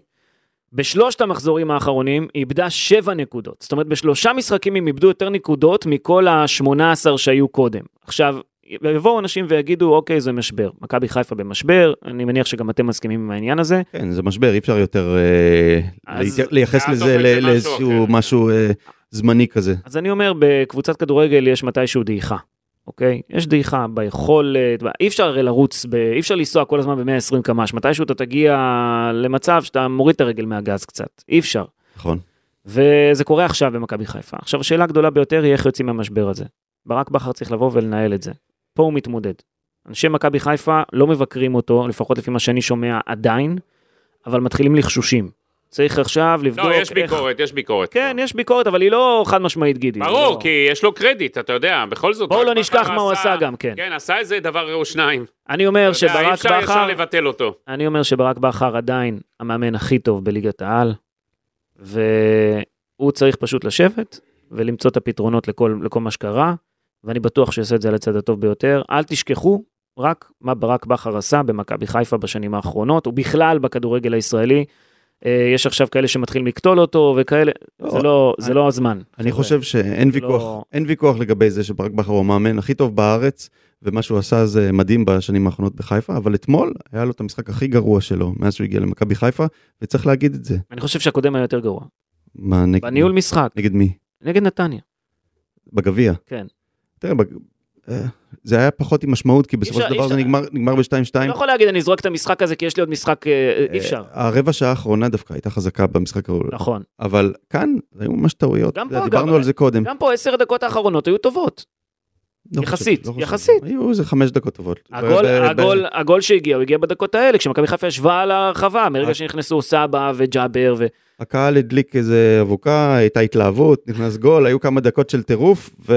[SPEAKER 2] בשלושת המחזורים האחרונים היא איבדה 7 נקודות. זאת אומרת, בשלושה משחקים הם איבדו יותר נקודות מכל ה-18 שהיו קודם. עכשיו, יבואו אנשים ויגידו, אוקיי, זה משבר. מכבי חיפה במשבר, אני מניח שגם אתם מסכימים עם העניין הזה.
[SPEAKER 3] כן, זה משבר, אי אפשר יותר אה,
[SPEAKER 2] אז-
[SPEAKER 3] להתי- לייחס
[SPEAKER 4] אה,
[SPEAKER 3] לזה
[SPEAKER 4] טוב,
[SPEAKER 3] ל-
[SPEAKER 4] זה משהו
[SPEAKER 3] לאיזשהו
[SPEAKER 4] אחר.
[SPEAKER 3] משהו אה, זמני כזה.
[SPEAKER 2] אז אני אומר, בקבוצת כדורגל יש מתישהו דעיכה, אוקיי? יש דעיכה ביכולת, ב- אי אפשר הרי לרוץ, ב... אי אפשר לנסוע כל הזמן ב-120 קמ"ש, מתישהו אתה תגיע למצב שאתה מוריד את הרגל מהגז קצת, אי אפשר.
[SPEAKER 3] נכון.
[SPEAKER 2] וזה קורה עכשיו במכבי חיפה. עכשיו, השאלה הגדולה ביותר היא איך יוצאים מהמשבר הזה. ברק בכר צריך לבוא ולנהל את זה. פה הוא מתמודד. אנשי מכבי חיפה לא מבקרים אותו, לפחות לפי מה שאני שומע עדיין, אבל מתחילים לחשושים. צריך עכשיו לבדוק
[SPEAKER 4] לא, יש
[SPEAKER 2] איך...
[SPEAKER 4] ביקורת, יש ביקורת.
[SPEAKER 2] כן, יש ביקורת, אבל היא לא חד משמעית, גידי.
[SPEAKER 4] ברור,
[SPEAKER 2] לא...
[SPEAKER 4] כי יש לו קרדיט, אתה יודע, בכל זאת.
[SPEAKER 2] בואו
[SPEAKER 4] ברק
[SPEAKER 2] לא נשכח
[SPEAKER 4] בכר
[SPEAKER 2] מה הוא עשה גם, כן.
[SPEAKER 4] כן, עשה איזה דבר או שניים.
[SPEAKER 2] אני אומר
[SPEAKER 4] אתה יודע, אי
[SPEAKER 2] שברק
[SPEAKER 4] אפשר ישר
[SPEAKER 2] בכר,
[SPEAKER 4] לבטל אותו.
[SPEAKER 2] אני אומר שברק בכר עדיין המאמן הכי טוב בליגת העל, והוא צריך פשוט לשבת ולמצוא את הפתרונות לכל, לכל מה שקרה, ואני בטוח שיעשה את זה על הצד הטוב ביותר. אל תשכחו רק מה ברק בכר עשה במכבי חיפה בשנים האחרונות, ובכלל בכדורגל הישראלי. אה, יש עכשיו כאלה שמתחילים לקטול אותו וכאלה,
[SPEAKER 3] לא,
[SPEAKER 2] זה לא, זה לא הזמן.
[SPEAKER 3] אני חושב שאין
[SPEAKER 2] זה
[SPEAKER 3] ויכוח,
[SPEAKER 2] לא-
[SPEAKER 3] אין ויכוח לגבי זה שברק בכר הוא המאמן הכי טוב בארץ, ומה שהוא עשה זה מדהים בשנים האחרונות בחיפה, אבל אתמול היה לו את המשחק הכי גרוע שלו מאז שהוא הגיע למכבי חיפה, וצריך להגיד את זה.
[SPEAKER 2] אני חושב שהקודם היה יותר גרוע.
[SPEAKER 3] מה, נגד,
[SPEAKER 2] בניהול משחק,
[SPEAKER 3] נגד מי?
[SPEAKER 2] נגד נתניה.
[SPEAKER 3] בגביע.
[SPEAKER 2] כן.
[SPEAKER 3] תראה, בג... אה, זה היה פחות עם משמעות, כי בסופו
[SPEAKER 2] אפשר-
[SPEAKER 3] של דבר
[SPEAKER 2] אי
[SPEAKER 3] זה
[SPEAKER 2] אפשר-
[SPEAKER 3] נגמר, נגמר ב-2-2.
[SPEAKER 2] אתה לא יכול להגיד אני זורק את המשחק הזה כי יש לי עוד משחק, אה, אי אפשר.
[SPEAKER 3] אה, הרבע שעה האחרונה דווקא הייתה חזקה במשחק, ההוא.
[SPEAKER 2] נכון.
[SPEAKER 3] אבל כאן היו ממש טעויות.
[SPEAKER 2] גם
[SPEAKER 3] אתה יודע,
[SPEAKER 2] פה, אגב,
[SPEAKER 3] דיברנו
[SPEAKER 2] אבל-
[SPEAKER 3] על זה קודם.
[SPEAKER 2] גם פה עשר הדקות האחרונות היו טובות.
[SPEAKER 3] לא
[SPEAKER 2] יחסית,
[SPEAKER 3] חושב, לא חושב.
[SPEAKER 2] יחסית.
[SPEAKER 3] היו איזה חמש דקות טובות.
[SPEAKER 2] הגול,
[SPEAKER 3] ב- ב-
[SPEAKER 2] הגול, הגול שהגיע, הוא הגיע בדקות האלה, כשמכבי חיפה ישבה על הרחבה, מרגע
[SPEAKER 3] אה.
[SPEAKER 2] שנכנסו סבא וג'אבר ו...
[SPEAKER 3] הקהל הדליק איזה אבוקה, הייתה התלהבות, נכנס גול, היו כמה דקות של טירוף, ו...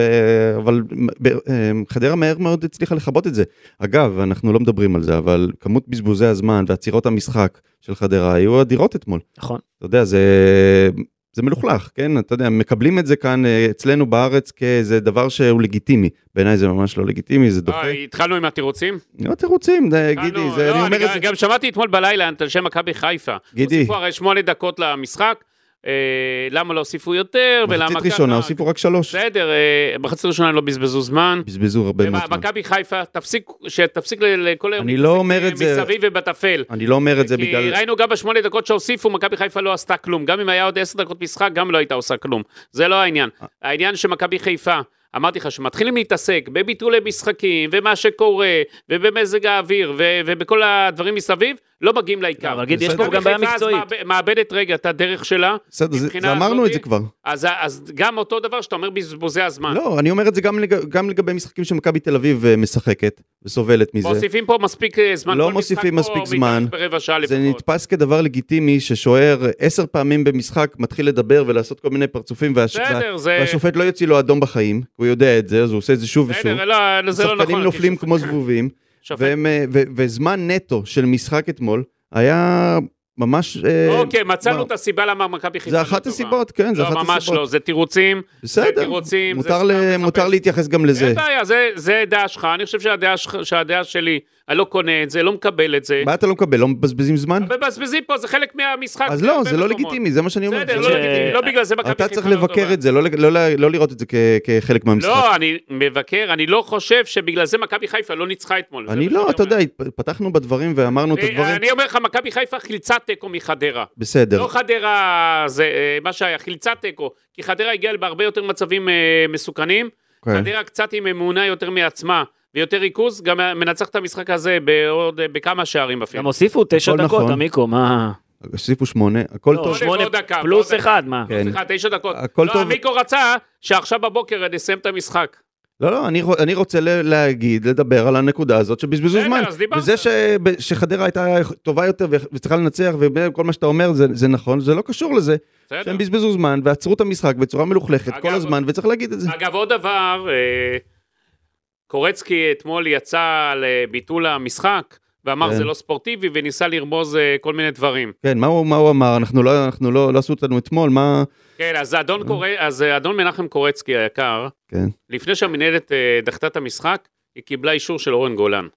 [SPEAKER 3] אבל ב... אה, חדרה מהר מאוד הצליחה לכבות את זה. אגב, אנחנו לא מדברים על זה, אבל כמות בזבוזי הזמן ועצירות המשחק של חדרה היו אדירות אתמול.
[SPEAKER 2] נכון.
[SPEAKER 3] אתה יודע, זה... זה מלוכלך, כן? אתה יודע, מקבלים את זה כאן אה, אצלנו בארץ כאיזה דבר שהוא לגיטימי. בעיניי זה ממש לא לגיטימי, זה דוחה.
[SPEAKER 4] אה, התחלנו עם התירוצים?
[SPEAKER 3] לא תירוצים, זה- גידי,
[SPEAKER 4] התחלנו-
[SPEAKER 3] זה-
[SPEAKER 4] לא,
[SPEAKER 3] אני אומר
[SPEAKER 4] אני
[SPEAKER 3] את
[SPEAKER 4] גם-
[SPEAKER 3] זה.
[SPEAKER 4] גם שמעתי אתמול בלילה את אנשי מכבי חיפה.
[SPEAKER 3] גידי.
[SPEAKER 4] הוסיפו הרי שמונה דקות למשחק. אה, אה, למה לא הוסיפו יותר, ולמה ככה.
[SPEAKER 3] מחצית ראשונה הוסיפו רק שלוש.
[SPEAKER 4] בסדר, אה, מחצית ראשונה לא בזבזו זמן.
[SPEAKER 3] בזבזו הרבה מאוד זמן.
[SPEAKER 4] אה, מכבי חיפה, תפסיק, שתפסיק ל- לכל היום.
[SPEAKER 3] אני לא
[SPEAKER 4] להתעסק
[SPEAKER 3] אומר את זה-
[SPEAKER 4] מסביב ובטפל.
[SPEAKER 3] אני לא אומר את זה
[SPEAKER 4] כי
[SPEAKER 3] בגלל...
[SPEAKER 4] ראינו גם בשמונה דקות שהוסיפו, מכבי חיפה לא עשתה כלום. גם אם היה עוד עשר דקות משחק, גם לא הייתה עושה כלום. זה לא העניין.
[SPEAKER 3] אה.
[SPEAKER 4] העניין שמכבי חיפה, אמרתי לך, שמתחילים להתעסק בביטולי משחקים, ומה שקורה, ובמזג האוויר, ו- ובכל הדברים מסביב, לא מגיעים לעיקר.
[SPEAKER 2] אבל גיד, יש פה
[SPEAKER 3] בסדר.
[SPEAKER 2] גם בעיה
[SPEAKER 4] מכבי חיפה אז
[SPEAKER 2] מקצועית.
[SPEAKER 4] מאבד- מאבדת רגע את הדרך שלה,
[SPEAKER 3] בסדר, זה-
[SPEAKER 4] מבחינה
[SPEAKER 3] זה אמרנו
[SPEAKER 4] הזאת-
[SPEAKER 3] את זה כבר.
[SPEAKER 4] אז, אז גם אותו דבר שאתה אומר בזבוזי הזמן.
[SPEAKER 3] לא, אני אומר את זה גם לג- גם לגבי משחקים שמכבי תל אביב אה, משחקת וסובלת מזה.
[SPEAKER 4] מוסיפים פה מספיק אה, זמן.
[SPEAKER 3] לא
[SPEAKER 4] כל משחק
[SPEAKER 3] מוסיפים
[SPEAKER 4] פה
[SPEAKER 3] מספיק
[SPEAKER 4] מתארך
[SPEAKER 3] זמן.
[SPEAKER 4] ברבע שעה
[SPEAKER 3] זה
[SPEAKER 4] לפחות.
[SPEAKER 3] נתפס כדבר לגיטימי ששוער עשר פעמים במשחק מתחיל לדבר ולעשות כל מיני פרצופים והש-
[SPEAKER 4] בסדר,
[SPEAKER 3] וה-
[SPEAKER 4] זה-
[SPEAKER 3] והשופט לא יוציא לו אדום בחיים, הוא יודע את זה, אז הוא עושה את זה שוב ושוב.
[SPEAKER 4] בסדר, לא, זה לא נכון.
[SPEAKER 3] שחקנים נופלים
[SPEAKER 4] כי
[SPEAKER 3] כמו
[SPEAKER 4] שופט-
[SPEAKER 3] זבובים,
[SPEAKER 4] שופט-
[SPEAKER 3] והם, אה, ו- וזמן נטו של משחק אתמול היה ממש... אה,
[SPEAKER 4] אוקיי, מצאנו
[SPEAKER 3] מה-
[SPEAKER 4] את הסיבה למה מכבי חיפה
[SPEAKER 3] זה
[SPEAKER 4] לא
[SPEAKER 3] אחת
[SPEAKER 4] טובה.
[SPEAKER 3] הסיבות, כן, זה אחת
[SPEAKER 4] לא, ממש
[SPEAKER 3] הסיבות.
[SPEAKER 4] לא, זה תירוצים. זה
[SPEAKER 3] בסדר,
[SPEAKER 4] תירוצים, זה
[SPEAKER 3] מותר
[SPEAKER 4] סתם
[SPEAKER 3] ל-
[SPEAKER 4] לחפש.
[SPEAKER 3] מותר להתייחס גם לזה.
[SPEAKER 4] אין בעיה, זה- זה דעה שלך, אני חושב שהדעה שלך- שהדעה שלי, אני לא קונה את זה, לא מקבל את זה.
[SPEAKER 3] מה אתה לא מקבל? לא מבזבזים זמן?
[SPEAKER 4] מבזבזים פה, זה חלק מהמשחק.
[SPEAKER 3] אז לא,
[SPEAKER 4] בהרבה
[SPEAKER 3] זה לא
[SPEAKER 4] מקומות.
[SPEAKER 3] לגיטימי, זה מה שאני אומר.
[SPEAKER 4] בסדר,
[SPEAKER 3] זה-
[SPEAKER 4] לא לגיטימי, לא בגלל זה מכבי חיפה
[SPEAKER 3] אתה
[SPEAKER 4] לא
[SPEAKER 3] צריך
[SPEAKER 4] טובה.
[SPEAKER 3] לבקר את זה, לא לג- לא ל- לא לראות את זה כ- כחלק מהמשחק.
[SPEAKER 4] לא, אני מבקר, אני לא חושב שבגלל זה מכבי חיפה לא ניצחה אתמול.
[SPEAKER 3] אני
[SPEAKER 4] זה מה
[SPEAKER 3] לא,
[SPEAKER 4] שאני
[SPEAKER 3] אתה
[SPEAKER 4] אומר.
[SPEAKER 3] יודע, התפ- פתחנו בדברים ואמרנו את
[SPEAKER 4] אה,
[SPEAKER 3] הדברים.
[SPEAKER 4] אני אומר לך, מכבי חיפה חילצה תיקו מחדרה.
[SPEAKER 3] בסדר.
[SPEAKER 4] לא חדרה זה אה, מה שהיה, חילצה תיקו, כי חדרה הגיעה בהרבה יותר מצבים אה, מסוכנים.
[SPEAKER 3] כן.
[SPEAKER 4] חדרה קצת עם אמונה יותר מעצמה ויותר ריכוז, גם מנצח את המשחק הזה בעוד, אה, בכמה שערים
[SPEAKER 2] גם
[SPEAKER 4] אפילו.
[SPEAKER 2] הוסיפו תשע
[SPEAKER 3] הכל
[SPEAKER 2] דקות,
[SPEAKER 3] נכון.
[SPEAKER 2] עמיקו, מה?
[SPEAKER 3] הוסיפו שמונה, הכל
[SPEAKER 2] לא,
[SPEAKER 3] טוב.
[SPEAKER 4] שמונה ועוד דקה,
[SPEAKER 2] פלוס
[SPEAKER 4] ועוד דקה.
[SPEAKER 2] אחד, מה?
[SPEAKER 3] כן.
[SPEAKER 4] סליחה, תשע דקות.
[SPEAKER 3] הכל
[SPEAKER 4] לא,
[SPEAKER 3] טוב.
[SPEAKER 4] מיקו רצה שעכשיו בבוקר נסיים את המשחק.
[SPEAKER 3] לא, לא, אני, רוצ- אני רוצה ל- להגיד, לדבר על הנקודה הזאת שבזבזו
[SPEAKER 4] בסדר,
[SPEAKER 3] זמן.
[SPEAKER 4] אז דיברת.
[SPEAKER 3] וזה ש, ב- שחדרה הייתה טובה יותר ו- וצריכה לנצח, וכל מה שאתה אומר זה, זה נכון, זה לא קשור לזה.
[SPEAKER 4] בסדר.
[SPEAKER 3] שהם בזבזו זמן ועצרו את המשחק בצורה מלוכלכת
[SPEAKER 4] אגב,
[SPEAKER 3] כל הזמן, וצריך להגיד את זה.
[SPEAKER 4] אגב, עוד דבר, אה, קורצקי אתמול יצא לביטול המשחק, ואמר
[SPEAKER 3] כן.
[SPEAKER 4] זה לא ספורטיבי, וניסה לרמוז אה, כל מיני דברים.
[SPEAKER 3] כן, מה הוא, מה הוא אמר? אנחנו לא, אנחנו לא, לא עשו אותנו אתמול, מה...
[SPEAKER 4] כן, אז אדון, קור... אז אה, אדון מנחם קורצקי היקר,
[SPEAKER 3] כן.
[SPEAKER 4] לפני שהמנהלת אה, דחתה את המשחק, היא קיבלה אישור של אורן גולן.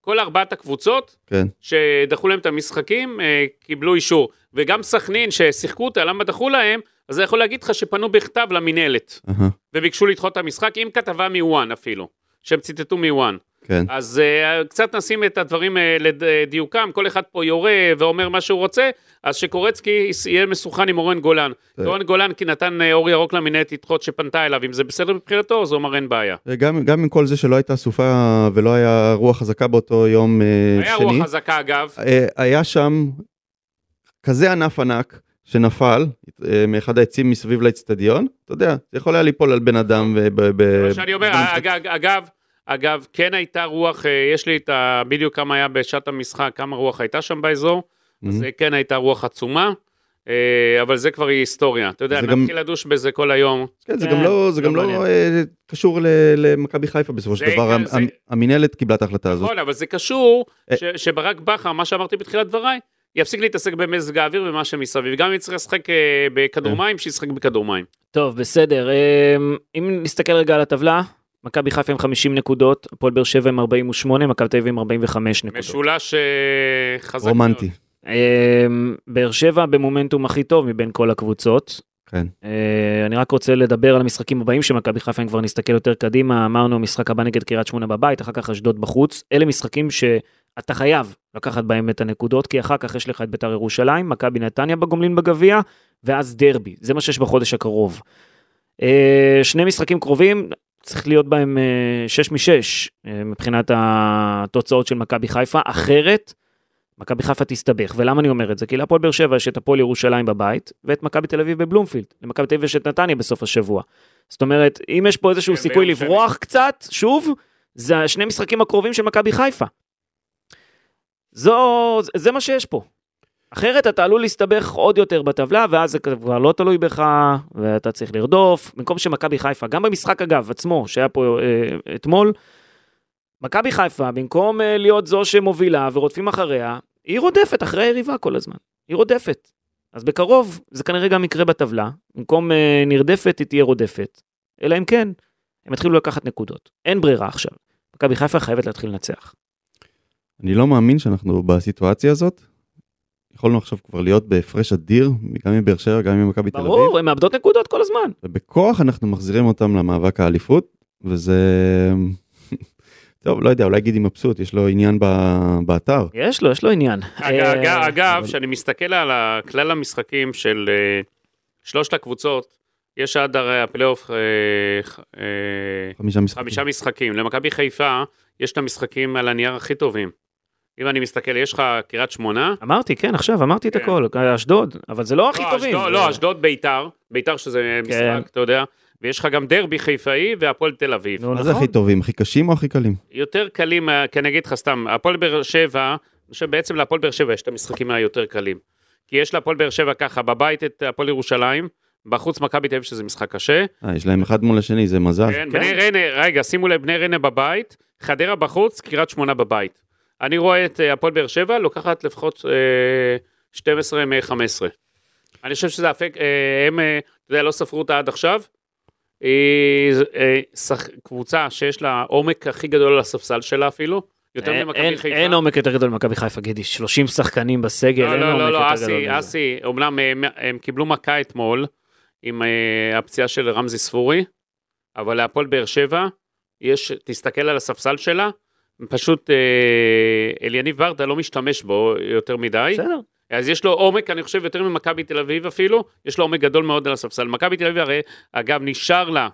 [SPEAKER 4] כל ארבעת הקבוצות
[SPEAKER 3] כן.
[SPEAKER 4] שדחו להם את המשחקים, אה, קיבלו אישור. וגם סכנין, ששיחקו אותה, למה דחו להם, אז אני יכול להגיד לך שפנו בכתב למינהלת,
[SPEAKER 3] אהה,
[SPEAKER 4] וביקשו לדחות את המשחק, עם כתבה מוואן אפילו, שהם ציטטו מוואן.
[SPEAKER 3] כן.
[SPEAKER 4] אז אה, קצת נשים את הדברים אה, לדיוקם, כל אחד פה יורה ואומר מה שהוא רוצה, אז שקורצקי יס- יהיה מסוכן עם אורן גולן.
[SPEAKER 3] כן.
[SPEAKER 4] אורן גולן כי נתן אה, אור ירוק למנהלת לדחות שפנתה אליו, אם זה בסדר מבחינתו, אז הוא אמר אין בעיה.
[SPEAKER 3] גם, גם עם כל זה שלא הייתה סופה ולא היה רוח חזקה באותו יום אה,
[SPEAKER 4] לא היה
[SPEAKER 3] שני.
[SPEAKER 4] רוח חזקה אגב,
[SPEAKER 3] אה, היה שם כזה ענף ענק שנפל אה, מאחד העצים מסביב לאצטדיון, אתה יודע, זה יכול היה ליפול על בן אדם. ו- ב- ב-
[SPEAKER 4] מה שאני אומר, אה,
[SPEAKER 3] במשחק.
[SPEAKER 4] אגב, אגב, אגב, כן הייתה רוח, אה, יש לי את ה... בדיוק כמה היה בשעת המשחק, כמה רוח הייתה שם באזור, אז
[SPEAKER 3] Mhm.
[SPEAKER 4] אה, כן הייתה רוח עצומה, אה, אבל זה כבר היא היסטוריה. אתה יודע,
[SPEAKER 3] זה גם-
[SPEAKER 4] נתחיל לדוש בזה כל היום.
[SPEAKER 3] כן, זה
[SPEAKER 2] כן,
[SPEAKER 3] גם לא, זה
[SPEAKER 2] לא
[SPEAKER 3] גם לא
[SPEAKER 2] מעניין.
[SPEAKER 3] אה, קשור ל- למכבי חיפה בסופו של
[SPEAKER 4] זה-
[SPEAKER 3] דבר, המ-
[SPEAKER 4] זה-
[SPEAKER 3] המ- המינהלת קיבלה את ההחלטה הזאת.
[SPEAKER 4] נכון, אבל זה קשור
[SPEAKER 3] אה.
[SPEAKER 4] ש- שברק בכר, מה שאמרתי בתחילת דבריי, יפסיק להתעסק במזג האוויר ומה שמסביב. גם אם יצטרך לשחק אה, בכדור
[SPEAKER 3] כן.
[SPEAKER 4] מים, שישחק בכדור מים.
[SPEAKER 2] טוב, בסדר. אמ, אם נסתכל רגע על הטבלה, מכבי חיפה עם 50 נקודות, הפועל באר שבע עם 48, מכבי תל אביב עם 45 נקודות.
[SPEAKER 4] משולש אה, חזק מאוד.
[SPEAKER 3] רומנטי,
[SPEAKER 2] אמ, באר שבע במומנטום הכי טוב מבין כל הקבוצות.
[SPEAKER 3] כן.
[SPEAKER 2] אה, אני רק רוצה לדבר על המשחקים הבאים של מכבי חיפה, אם כבר נסתכל יותר קדימה, אמרנו המשחק הבא נגד קריית שמונה בבית, אחר כך אשדוד בחוץ. אלה משחקים שאתה חייב לקחת בהם את הנקודות, כי אחר כך יש לך את ביתר ירושלים, מכבי נתניה בגומלין בגביע, ואז דרבי, זה מה שיש בחודש הקרוב. אה, שני משחקים קרובים, צריך להיות בהם אה, 6 מ-6 אה, מבחינת התוצאות של מכבי חיפה, אחרת מכבי חיפה תסתבך. ולמה אני אומר את זה? כי להפועל באר שבע יש את הפועל ירושלים בבית, ואת מכבי תל אביב בבלומפילד. למכבי תל אביב יש את נתניה בסוף השבוע. זאת אומרת, אם יש פה איזשהו
[SPEAKER 4] כן,
[SPEAKER 2] סיכוי
[SPEAKER 4] ביום שני.
[SPEAKER 2] לברוח קצת, שוב, זה השני משחקים הקרובים של מכבי חיפה. זו, זה מה שיש פה. אחרת אתה עלול להסתבך עוד יותר בטבלה, ואז זה כבר לא תלוי בך, ואתה צריך לרדוף. במקום שמכבי חיפה, גם במשחק אגב עצמו, שהיה פה אה, אתמול, מכבי חיפה, במקום אה, להיות זו שמובילה ורודפים אחריה, היא רודפת אחרי היריבה כל הזמן. היא רודפת. אז בקרוב זה כנראה גם יקרה בטבלה. במקום אה, נרדפת, היא תהיה רודפת. אלא אם כן, הם יתחילו לקחת נקודות. אין ברירה עכשיו. מכבי חיפה חייבת להתחיל לנצח.
[SPEAKER 3] אני לא מאמין שאנחנו בסיטואציה הזאת, יכולנו עכשיו כבר להיות בהפרש אדיר, גם מבאר שבע, גם ממכבי תל אביב.
[SPEAKER 2] ברור, הן מאבדות נקודות כל הזמן.
[SPEAKER 3] ובכוח אנחנו מחזירים אותם למאבק האליפות, וזה... <laughs> טוב, לא יודע, אולי גידי מבסוט, יש לו עניין ב... באתר.
[SPEAKER 2] יש לו, יש לו עניין.
[SPEAKER 4] אגב,
[SPEAKER 2] אה,
[SPEAKER 4] אגב, אגב
[SPEAKER 3] אבל-
[SPEAKER 4] כשאני מסתכל על ה- כלל המשחקים של אה, שלושת הקבוצות, יש עד הרי הפלייאוף אה, ח- אה,
[SPEAKER 3] חמישה משחקים.
[SPEAKER 4] חמישה משחקים. למכבי חיפה, יש את המשחקים על הנייר הכי טובים. אם אני מסתכל, יש לך קריית שמונה.
[SPEAKER 2] אמרתי, כן, עכשיו, אמרתי את
[SPEAKER 4] כן.
[SPEAKER 2] הכל, אשדוד, אבל זה לא הכי
[SPEAKER 4] לא,
[SPEAKER 2] טובים.
[SPEAKER 4] אשדוד-
[SPEAKER 2] זה-
[SPEAKER 4] לא, אשדוד ביתר, ביתר שזה
[SPEAKER 2] כן.
[SPEAKER 4] משחק, אתה יודע. ויש לך גם דרבי חיפאי והפועל תל אביב.
[SPEAKER 2] נו,
[SPEAKER 3] מה זה
[SPEAKER 2] נכון.
[SPEAKER 3] הכי טובים, הכי קשים או הכי קלים?
[SPEAKER 4] יותר קלים, אה, כי אני אגיד לך סתם, הפועל באר שבע, שבעצם להפועל באר שבע יש את המשחקים היותר קלים. כי יש להפועל באר שבע ככה, בבית את הפועל ירושלים, בחוץ מכבי תל אביב שזה משחק קשה.
[SPEAKER 3] אה, יש להם אחד מול השני, זה מזל.
[SPEAKER 4] כן, בני ריינה, רגע, שימו לב, בני ריינה בבית, חדרה בחוץ, קריית שמונה בבית. אני רואה את אה, הפועל באר שבע, לוקחת לפחות אה, 12 מ-15. אני חושב שזה הפק, אה, הם, אה, אתה יודע, לא ספרו אותה עד עכשיו. היא אה, שח, קבוצה שיש לה עומק הכי גדול על הספסל שלה אפילו, יותר
[SPEAKER 2] אין-
[SPEAKER 4] ממכבי
[SPEAKER 2] אה, אין-
[SPEAKER 4] חיפה.
[SPEAKER 2] אין עומק יותר גדול ממכבי חיפה, גידי, 30 שחקנים בסגל,
[SPEAKER 4] לא,
[SPEAKER 2] אין
[SPEAKER 4] לא,
[SPEAKER 2] עומק
[SPEAKER 4] לא, לא,
[SPEAKER 2] יותר גדול.
[SPEAKER 4] אסי,
[SPEAKER 2] מזה.
[SPEAKER 4] אסי, אומנם הם, הם קיבלו מכה אתמול עם אה, הפציעה של רמזי ספורי, אבל להפועל באר שבע, יש, תסתכל על הספסל שלה, פשוט אה, אליניב ברדה לא משתמש בו יותר מדי,
[SPEAKER 2] בסדר.
[SPEAKER 4] אז יש לו עומק, אני חושב, יותר ממכבי תל אביב אפילו, יש לו עומק גדול מאוד על הספסל. מכבי תל אביב הרי, אגב, נשאר לה,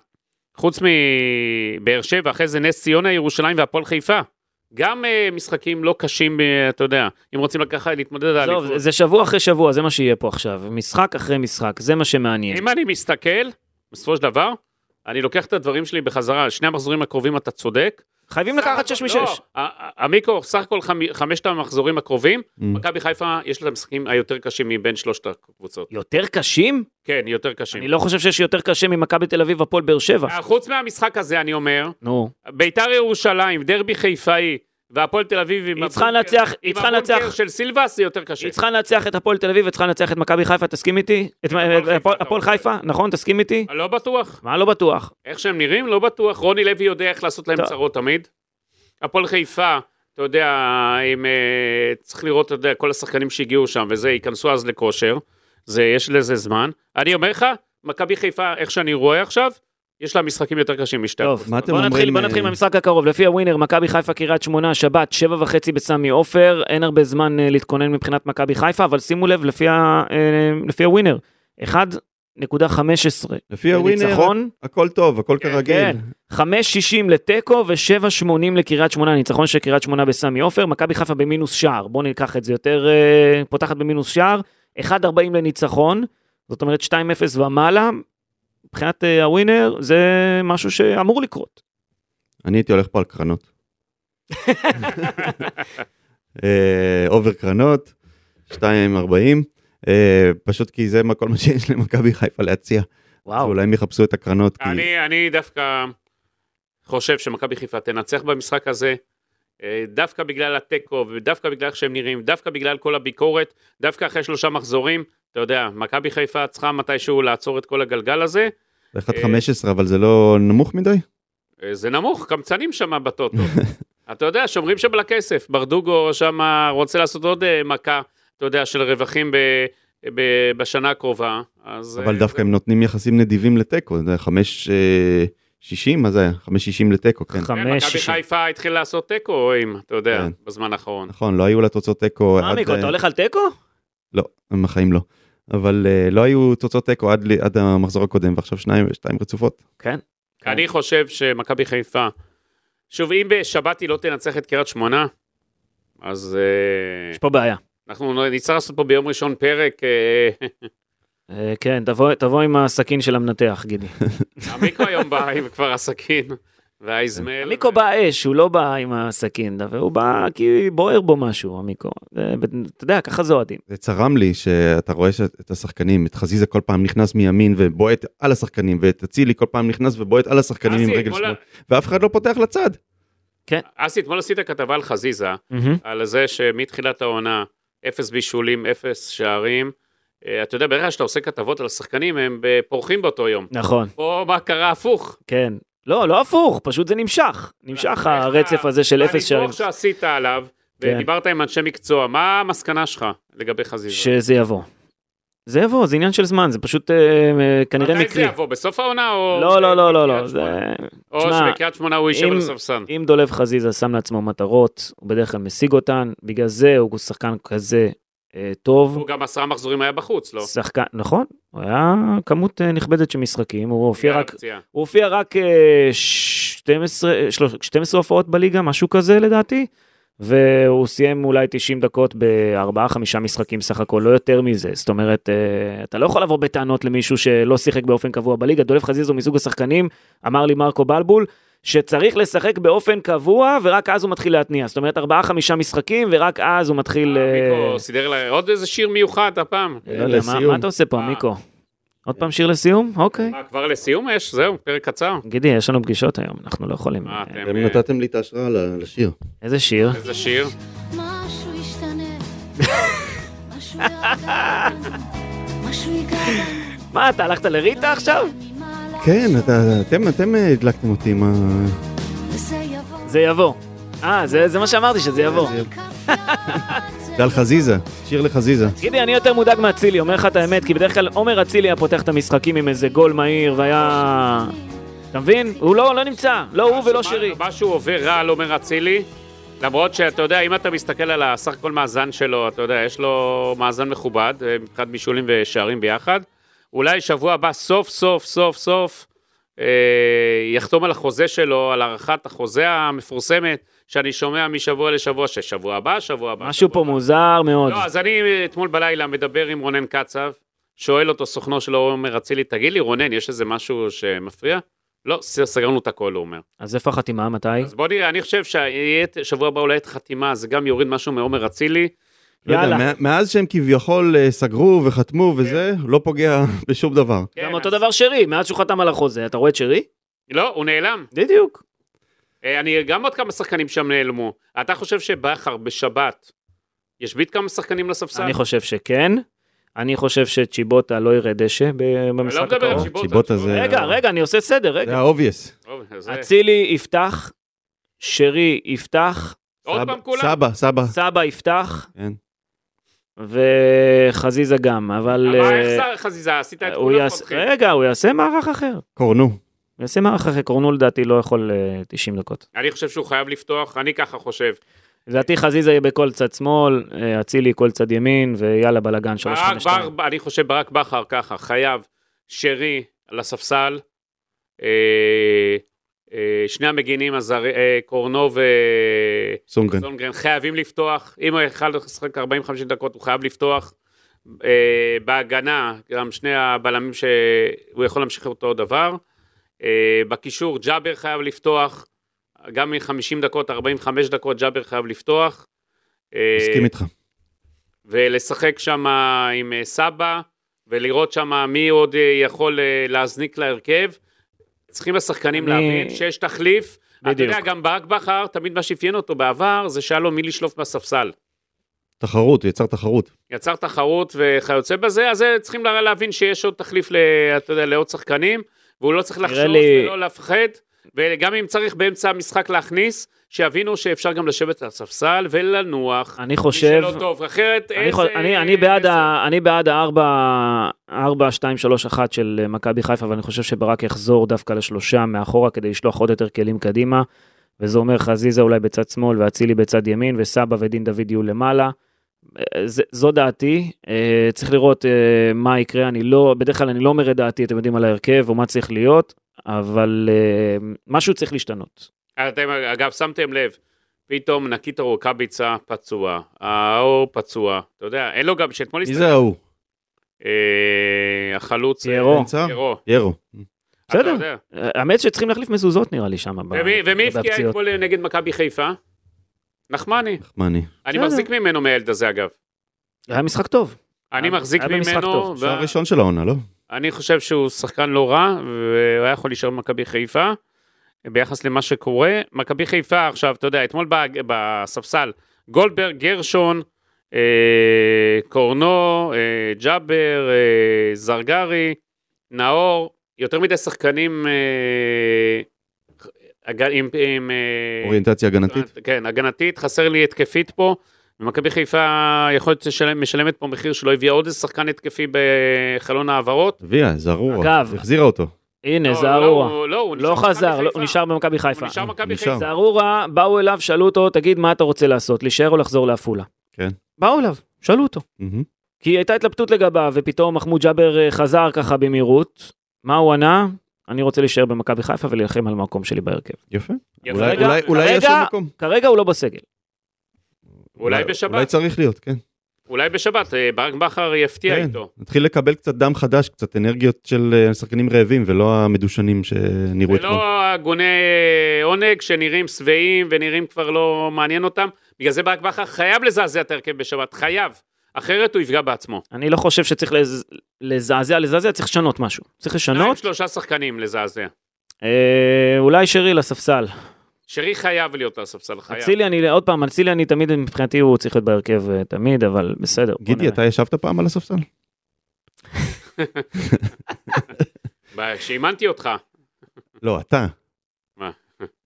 [SPEAKER 4] חוץ מבאר שבע, אחרי זה נס ציונה, ירושלים והפועל חיפה. גם אה, משחקים לא קשים, אה, אתה יודע, אם רוצים לקחת, להתמודד על
[SPEAKER 2] עזוב, זה- זה שבוע אחרי שבוע, זה מה שיהיה פה עכשיו. משחק אחרי משחק, זה מה שמעניין.
[SPEAKER 4] אם אני מסתכל, בסופו של דבר, אני לוקח את הדברים שלי בחזרה, שני המחזורים הקרובים אתה צודק.
[SPEAKER 2] חייבים לקחת 6
[SPEAKER 4] לא,
[SPEAKER 2] מ-6.
[SPEAKER 4] ה- ה- המיקרו, סך הכל חמ- חמשת המחזורים הקרובים,
[SPEAKER 3] Mm.
[SPEAKER 4] מכבי חיפה יש לה את המשחקים היותר קשים מבין שלושת הקבוצות.
[SPEAKER 2] יותר קשים?
[SPEAKER 4] כן, יותר קשים.
[SPEAKER 2] אני לא חושב שיש יותר קשה ממכבי תל אביב, הפועל באר שבע.
[SPEAKER 4] אה, חוץ מהמשחק הזה, אני אומר,
[SPEAKER 2] נו,
[SPEAKER 4] ביתר ירושלים, דרבי חיפאי, והפועל תל אביב עם
[SPEAKER 2] היא צריכה
[SPEAKER 4] הבונקר-
[SPEAKER 2] לנצח- היא צריכה
[SPEAKER 4] עם הבונקר
[SPEAKER 2] לנצח.
[SPEAKER 4] של סילבס זה יותר קשה.
[SPEAKER 2] היא צריכה לנצח את הפועל תל אביב וצריכה לנצח את מכבי חיפה, תסכים איתי? את מה-
[SPEAKER 4] הפועל חיפה,
[SPEAKER 2] הפועל-
[SPEAKER 4] אתה
[SPEAKER 2] הפועל
[SPEAKER 4] אומר.
[SPEAKER 2] חיפה, נכון? תסכים איתי?
[SPEAKER 4] לא בטוח.
[SPEAKER 2] מה לא בטוח?
[SPEAKER 4] איך שהם נראים, לא בטוח. רוני לוי יודע איך לעשות להם
[SPEAKER 2] טוב.
[SPEAKER 4] צרות תמיד. הפועל חיפה, אתה יודע, אם, אה, צריך לראות, אתה יודע, כל השחקנים שהגיעו שם וזה, ייכנסו אז לכושר. זה, יש לזה זמן. אני אומר לך, מכבי חיפה, איך שאני רואה עכשיו, יש לה משחקים יותר קשים משתי
[SPEAKER 2] טוב,
[SPEAKER 4] הקבוצות.
[SPEAKER 3] מה אתם
[SPEAKER 2] בוא נתחיל,
[SPEAKER 3] אומרים,
[SPEAKER 2] בוא
[SPEAKER 3] אה,
[SPEAKER 2] נתחיל מהמשחק הקרוב. לפי הווינר, מכבי חיפה קריית שמונה, שבת, שבע וחצי בסמי עופר. אין הרבה זמן אה, להתכונן מבחינת מכבי חיפה, אבל שימו לב, לפי, ה, אה, לפי הווינר, 1.15
[SPEAKER 3] לפי הווינר,
[SPEAKER 2] לניצחון,
[SPEAKER 3] הכל טוב, הכל
[SPEAKER 4] כן,
[SPEAKER 3] כרגיל.
[SPEAKER 2] 5.60 לתיקו ו-7.80 לקריית שמונה, ניצחון של קריית שמונה בסמי עופר. מכבי חיפה במינוס שער, בואו ניקח את זה יותר, אה, פותחת במינוס שער, 1.40 לניצחון, זאת אומרת 2.0 ומעלה. מבחינת אה, הווינר, זה משהו שאמור לקרות.
[SPEAKER 3] אני הייתי הולך פה על
[SPEAKER 4] <laughs>
[SPEAKER 3] קרנות. אה, אובר קרנות, 2.40, אה, פשוט כי זה מה- כל מה שיש למכבי חיפה להציע. אז
[SPEAKER 2] וואו,
[SPEAKER 3] אולי הם יחפשו את הקרנות, כי
[SPEAKER 4] אני, אני דווקא חושב שמכבי חיפה תנצח במשחק הזה, אה, דווקא בגלל התיקו, ודווקא בגלל איך שהם נראים, דווקא בגלל כל הביקורת, דווקא אחרי שלושה מחזורים, אתה יודע, מכבי חיפה צריכה מתישהו לעצור את כל הגלגל הזה.
[SPEAKER 3] זה 1.15, אבל זה לא נמוך מדי?
[SPEAKER 4] אה, זה נמוך, קמצנים
[SPEAKER 3] <laughs>
[SPEAKER 4] שם בטוטו. אתה יודע, שומרים שם על הכסף, ברדוגו שם רוצה לעשות עוד אה, מכה, אתה יודע, של רווחים ב... ב- בשנה הקרובה, אז...
[SPEAKER 3] אבל
[SPEAKER 4] אה,
[SPEAKER 3] דווקא
[SPEAKER 4] זה-
[SPEAKER 3] הם נותנים יחסים נדיבים לתיקו, זה 5.60, מה זה היה? 5.60 לתיקו, כן.
[SPEAKER 4] כן,
[SPEAKER 2] חמש,
[SPEAKER 4] מכבי
[SPEAKER 2] שישים.
[SPEAKER 4] חיפה התחילה לעשות תיקו, אם, אתה יודע,
[SPEAKER 3] כן.
[SPEAKER 4] בזמן האחרון.
[SPEAKER 3] נכון, לא היו לה תוצאות תיקו.
[SPEAKER 2] מה
[SPEAKER 3] עד,
[SPEAKER 2] מיקו,
[SPEAKER 3] אה,
[SPEAKER 2] אתה הולך על תיקו?
[SPEAKER 3] לא, הם החיים לא. אבל אה, לא היו תוצאות תיקו עד ל- עד המחזור הקודם, ועכשיו שניים שתיים רצופות.
[SPEAKER 2] כן.
[SPEAKER 4] כן. אני חושב שמכבי חיפה, שוב, אם בשבת היא לא תנצח את קריית שמונה, אז
[SPEAKER 2] יש
[SPEAKER 4] uh,
[SPEAKER 2] פה בעיה.
[SPEAKER 4] אנחנו נצטרך לעשות פה ביום ראשון פרק, אה, <laughs>
[SPEAKER 2] אה, כן, תבוא- תבוא עם הסכין של המנתח, <laughs> גידי.
[SPEAKER 4] המיקרו היום בא עם כבר הסכין, והאיזמל.
[SPEAKER 2] המיקו בא אש, הוא לא בא עם הסכין, אבל הוא בא כי בוער בו משהו, המיקו. אה, ב- אתה יודע, ככה זה אוהדים.
[SPEAKER 3] זה צרם לי שאתה רואה שאת- את השחקנים, את חזיזה כל פעם נכנס מימין ובועט על השחקנים, ואת אצילי כל פעם נכנס ובועט על השחקנים עם
[SPEAKER 4] אסי,
[SPEAKER 3] רגל
[SPEAKER 4] אתמול-
[SPEAKER 3] שמאל, ואף אחד לא פותח לצד.
[SPEAKER 4] אסי, אתמול עשית כתבה על חזיזה, על זה שמתחילת העונה, אפס בישולים, אפס שערים. אה, אתה יודע, ברגע שאתה עושה כתבות על השחקנים, הם אה, פורחים באותו יום.
[SPEAKER 2] נכון,
[SPEAKER 4] פה מה קרה הפוך.
[SPEAKER 2] כן. לא, לא הפוך, פשוט זה נמשך. נמשך הרצף הזה של
[SPEAKER 4] והניתוח
[SPEAKER 2] אפס שערים.
[SPEAKER 4] שעשית עליו,
[SPEAKER 2] כן.
[SPEAKER 4] ודיברת עם אנשי מקצוע, מה המסקנה שלך לגבי חזיזה?
[SPEAKER 2] שזה יבוא. זה יבוא, זה עניין של זמן, זה פשוט אה, אה, כנראה
[SPEAKER 4] מתי זה
[SPEAKER 2] מקרי.
[SPEAKER 4] יבוא, בסוף העונה או...
[SPEAKER 2] לא, לא, לא, לא, לא,
[SPEAKER 4] בקריית
[SPEAKER 2] זה...
[SPEAKER 4] שמונה? או
[SPEAKER 2] תשמע,
[SPEAKER 4] שבקריית שמונה הוא יישב
[SPEAKER 2] אם-
[SPEAKER 4] על הספסל.
[SPEAKER 2] אם דולב חזיזה שם לעצמו מטרות, הוא בדרך כלל משיג אותן, בגלל זה הוא שחקן כזה אה, טוב.
[SPEAKER 4] הוא גם עשרה מחזורים היה בחוץ, לא?
[SPEAKER 2] שחקן, נכון, הוא היה כמות אה, נכבדת של משחקים, הוא הופיע
[SPEAKER 4] בגלל
[SPEAKER 2] רק,
[SPEAKER 4] הפציעה.
[SPEAKER 2] הוא הופיע רק אה, 12, אה, שלוש- 12 הופעות בליגה, משהו כזה לדעתי, והוא סיים אולי 90 דקות בארבעה-חמישה משחקים סך הכל, לא יותר מזה. זאת אומרת, אה, אתה לא יכול לבוא בטענות למישהו שלא שיחק באופן קבוע בליגה. דולב חזיז הוא מסוג השחקנים, אמר לי מרקו בלבול, שצריך לשחק באופן קבוע, ורק אז הוא מתחיל להתניע. זאת אומרת, ארבעה-חמיקה משחקים, ורק אז הוא מתחיל... אה,
[SPEAKER 4] מיקו סידר לה עוד איזה שיר מיוחד הפעם.
[SPEAKER 2] לא יודע, מה-
[SPEAKER 5] לסיום.
[SPEAKER 2] מה אתה עושה פה,
[SPEAKER 4] אה.
[SPEAKER 2] מיקו? עוד פעם שיר לסיום? אוקיי.
[SPEAKER 4] מה, אה, כבר לסיום יש? זהו, פרק קצר.
[SPEAKER 2] גידי, יש לנו פגישות היום, אנחנו לא יכולים.
[SPEAKER 4] אה,
[SPEAKER 2] אה,
[SPEAKER 4] אתם...
[SPEAKER 3] אתם
[SPEAKER 4] אה,
[SPEAKER 3] נתתם לי את ההשראה ל- לשיר.
[SPEAKER 2] איזה שיר?
[SPEAKER 4] איזה שיר?
[SPEAKER 6] משהו ישתנה, משהו ירגע אותנו, משהו ייגע בנו,
[SPEAKER 2] מה, אתה הלכת לריטה עכשיו?
[SPEAKER 6] ממה
[SPEAKER 3] כן,
[SPEAKER 6] לעשות,
[SPEAKER 3] אתה- אתם- אתם אה, הדלקתם אותי עם ה...
[SPEAKER 6] וזה יבוא,
[SPEAKER 2] זה יבוא. אה, זה זה מה שאמרתי, שזה יבוא.
[SPEAKER 6] כף יד, זה
[SPEAKER 3] <laughs> זה על חזיזה, שיר לחזיזה.
[SPEAKER 2] גידי, אני יותר מודאג מאצילי, אומר לך את האמת, כי בדרך כלל עומר אצילי היה פותח את המשחקים עם איזה גול מהיר,
[SPEAKER 6] לא
[SPEAKER 2] והיה... אתה מבין? הוא לא לא נמצא, לא הוא ולא
[SPEAKER 4] מה-
[SPEAKER 2] שירי.
[SPEAKER 4] מה שהוא עובר רע על עומר אצילי, למרות שאתה יודע, אם אתה מסתכל על הסך הכל מאזן שלו, אתה יודע, יש לו מאזן מכובד, אה, מבחינת בישולים ושערים ביחד. אולי שבוע הבא סוף סוף סוף סוף אה, יחתום על החוזה שלו, על הארכת החוזה המפורסמת, שאני שומע משבוע לשבוע, ששבוע הבא, שבוע הבא.
[SPEAKER 2] משהו
[SPEAKER 4] שבוע
[SPEAKER 2] פה
[SPEAKER 4] הבא.
[SPEAKER 2] מוזר מאוד.
[SPEAKER 4] לא, אז אני אה, אתמול בלילה מדבר עם רונן קצב, שואל אותו סוכנו שלו, הוא אומר, אצילי, תגיד לי, רונן, יש איזה משהו שמפריע? לא, ס- סגרנו את הכל, הוא אומר.
[SPEAKER 2] אז איפה החתימה, מתי?
[SPEAKER 4] אז בוא נראה, אני חושב ששבוע הבא אולי את חתימה, זה גם יוריד משהו מעומר אצילי.
[SPEAKER 3] לא יודע,
[SPEAKER 2] יאללה.
[SPEAKER 3] מה- מאז שהם כביכול אה, סגרו וחתמו וזה, לא פוגע <laughs> בשום דבר.
[SPEAKER 4] כן,
[SPEAKER 2] גם אותו
[SPEAKER 4] אז-
[SPEAKER 2] דבר שירי, מאז שהוא חתם על החוזה, אתה רואה את שירי?
[SPEAKER 4] לא, הוא נעלם.
[SPEAKER 2] בדיוק.
[SPEAKER 4] אה, אני, גם עוד כמה שחקנים שם נעלמו. אתה חושב שבכר בשבת ישבית כמה שחקנים לספסל?
[SPEAKER 2] אני חושב שכן. אני חושב שצ'יבוטה לא יראה דשא ב-
[SPEAKER 4] אני לא
[SPEAKER 2] במשחק
[SPEAKER 4] מדבר על
[SPEAKER 2] הקרוב.
[SPEAKER 4] שיבוטה.
[SPEAKER 3] צ'יבוטה זה-
[SPEAKER 2] רגע, רגע, אני עושה סדר, רגע.
[SPEAKER 3] זה האובייס.
[SPEAKER 4] טוב, אה, זה-
[SPEAKER 2] אצילי יפתח, שרי יפתח,
[SPEAKER 4] עוד
[SPEAKER 3] סבא-
[SPEAKER 4] פעם כולם?
[SPEAKER 3] סבא, סבא.
[SPEAKER 2] סבא יפתח,
[SPEAKER 3] כן.
[SPEAKER 2] וחזיזה גם, אבל...
[SPEAKER 4] אבל
[SPEAKER 2] אה,
[SPEAKER 4] איך זה חזיזה? עשית את
[SPEAKER 2] הוא
[SPEAKER 4] כולם
[SPEAKER 2] יעשה,
[SPEAKER 4] פותחים.
[SPEAKER 2] רגע, הוא יעשה מערך אחר. הוא
[SPEAKER 3] קורנו.
[SPEAKER 2] יעשה מערך אחר, קורנו לדעתי לא יכול אה, 90 דקות.
[SPEAKER 4] אני חושב שהוא חייב לפתוח, אני ככה חושב.
[SPEAKER 2] לדעתי חזיזה יהיה בכל צד שמאל, אה, אצילי כל צד ימין, ויאללה בלאגן, 3
[SPEAKER 4] ברק
[SPEAKER 2] 5 2
[SPEAKER 4] בר, אני חושב ברק בכר ככה, חייב, שרי לספסל, אה, אה, שני המגינים, הזר- אה, קורנו
[SPEAKER 3] סונגרן.
[SPEAKER 4] וזונגרן, חייבים לפתוח, אם הוא יכל לשחק 40-50 דקות, הוא חייב לפתוח. אה, בהגנה, גם שני הבלמים שהוא יכול להמשיך אותו דבר. אה, בקישור, ג'אבר חייב לפתוח, גם מ-50 דקות, 45 דקות, ג'אבר חייב לפתוח. אה,
[SPEAKER 3] מסכים איתך.
[SPEAKER 4] ולשחק שם עם אה, סבא, ולראות שם מי עוד אה, יכול אה, להזניק להרכב. צריכים השחקנים
[SPEAKER 2] אני-
[SPEAKER 4] להבין שיש תחליף. אתה
[SPEAKER 2] בדיוק.
[SPEAKER 4] יודע, גם ברק בכר, תמיד מה שאפיין אותו בעבר, זה שהיה לו מי לשלוף מהספסל.
[SPEAKER 3] תחרות, הוא יצר תחרות.
[SPEAKER 4] יצר תחרות וכיוצא בזה, אז אה, צריכים לה- להבין שיש עוד תחליף, ל- אתה יודע, לעוד שחקנים, והוא לא צריך לחשוש
[SPEAKER 2] לי-
[SPEAKER 4] ולא לפחד, וגם אם צריך באמצע המשחק להכניס, שיבינו שאפשר גם לשבת על הספסל ולנוח.
[SPEAKER 2] אני
[SPEAKER 4] מי
[SPEAKER 2] חושב...
[SPEAKER 4] שלא טוב, אחרת
[SPEAKER 2] אני חו- אני- אני בעד ה- אני בעד ה-4-2-3-1 של אה, מכבי חיפה, אבל אני חושב שברק יחזור דווקא לשלושה מאחורה כדי לשלוח עוד יותר כלים קדימה. וזה אומר חזיזה אולי בצד שמאל ואצילי בצד ימין, וסבא ודין דוד יהיו למעלה. אה, זה- זו דעתי, אה, צריך לראות אה, מה יקרה, אני לא, בדרך כלל אני לא אומר את דעתי, אתם יודעים, על ההרכב או מה צריך להיות, אבל אה, משהו צריך להשתנות.
[SPEAKER 4] אתם, אגב, שמתם לב, פתאום נקיטו רוקאביצה פצוע, ההוא פצוע, אתה יודע, אין לו גם, שאתמול
[SPEAKER 3] מי זה ההוא?
[SPEAKER 4] אה, החלוץ... אה,
[SPEAKER 2] פיירו.
[SPEAKER 3] באמצע?
[SPEAKER 4] פיירו.
[SPEAKER 3] ירו.
[SPEAKER 4] אתה
[SPEAKER 2] בסדר.
[SPEAKER 4] יודע.
[SPEAKER 2] אה, האמת שצריכים להחליף מזוזות נראה לי שם. ב-
[SPEAKER 4] ומי- ומי
[SPEAKER 2] לגבי
[SPEAKER 4] הבקיע
[SPEAKER 2] הפציעות.
[SPEAKER 4] אתמול נגד מכבי חיפה? נחמני.
[SPEAKER 3] נחמני.
[SPEAKER 4] אני
[SPEAKER 2] בסדר.
[SPEAKER 4] מחזיק ממנו מהילד הזה, אגב.
[SPEAKER 2] היה משחק טוב.
[SPEAKER 4] אני
[SPEAKER 2] היה-
[SPEAKER 4] מחזיק
[SPEAKER 2] היה במשחק
[SPEAKER 4] ממנו,
[SPEAKER 2] טוב.
[SPEAKER 4] ו-
[SPEAKER 3] שער ראשון של העונה, לא?
[SPEAKER 4] אני חושב שהוא שחקן לא רע, והוא היה יכול להישאר במכבי חיפה. ביחס למה שקורה, מכבי חיפה עכשיו, אתה יודע, אתמול ב- בספסל, גולדברג, גרשון, אה, קורנו, אה, ג'אבר, אה, זרגרי, נאור, יותר מדי שחקנים, אה, הג- עם... עם אה,
[SPEAKER 3] אוריינטציה הגנתית.
[SPEAKER 4] כן, הגנתית, חסר לי התקפית פה. ומכבי חיפה יכול להיות שמשלם- משלמת פה מחיר שלא הביאה עוד איזה שחקן התקפי בחלון ההעברות.
[SPEAKER 3] אביה, זרורה.
[SPEAKER 2] אגב-
[SPEAKER 3] החזירה אותו.
[SPEAKER 2] הנה,
[SPEAKER 4] לא, לא,
[SPEAKER 2] זערורה.
[SPEAKER 4] הוא- לא, הוא
[SPEAKER 2] לא
[SPEAKER 4] נשאר
[SPEAKER 2] חזר,
[SPEAKER 4] במכבי
[SPEAKER 2] לא,
[SPEAKER 4] חיפה.
[SPEAKER 2] הוא נשאר במכבי חיפה.
[SPEAKER 4] הוא נשאר במכבי
[SPEAKER 3] נשאר.
[SPEAKER 4] חיפה.
[SPEAKER 2] זערורה, באו אליו, שאלו אותו, תגיד, מה אתה רוצה לעשות, להישאר או לחזור לעפולה?
[SPEAKER 3] כן.
[SPEAKER 2] באו אליו, שאלו אותו.
[SPEAKER 3] מהמם.
[SPEAKER 2] כי הייתה התלבטות לגביו, ופתאום מחמוד ג'אבר אה, חזר ככה במהירות. מה הוא ענה? אני רוצה להישאר במכבי חיפה ולהילחם על המקום שלי בהרכב.
[SPEAKER 3] יפה.
[SPEAKER 4] יפה.
[SPEAKER 3] אולי-
[SPEAKER 2] רגע,
[SPEAKER 3] אולי- אולי יש
[SPEAKER 2] רגע.
[SPEAKER 3] לו מקום.
[SPEAKER 2] כרגע הוא לא בסגל.
[SPEAKER 4] אולי בשבת.
[SPEAKER 3] אולי צריך להיות, כן.
[SPEAKER 4] אולי בשבת, אה, ברק בכר יפתיע
[SPEAKER 3] כן.
[SPEAKER 4] איתו.
[SPEAKER 3] נתחיל לקבל קצת דם חדש, קצת אנרגיות של אה, שחקנים רעבים ולא המדושנים שנראו אתמול.
[SPEAKER 4] ולא לא הגוני אה, עונג שנראים שבעים ונראים כבר לא מעניין אותם. בגלל זה ברק בכר חייב לזעזע את ההרכב בשבת, חייב. אחרת הוא יפגע בעצמו.
[SPEAKER 2] אני לא חושב שצריך לז... לזעזע, לזעזע צריך לשנות משהו. צריך
[SPEAKER 4] שניים
[SPEAKER 2] לשנות,
[SPEAKER 4] שלושה שחקנים לזעזע.
[SPEAKER 2] אה, אולי שרי לספסל.
[SPEAKER 4] שרי חייב להיות על הספסל, חייב.
[SPEAKER 2] אצילי, אני, עוד פעם, אצילי אני תמיד, מבחינתי הוא צריך להיות בהרכב אה, תמיד, אבל בסדר. בוא
[SPEAKER 3] גידי,
[SPEAKER 2] נראה.
[SPEAKER 3] אתה ישבת פעם על הספסל?
[SPEAKER 4] ב- שאימנתי אותך.
[SPEAKER 3] לא, אתה.
[SPEAKER 4] מה?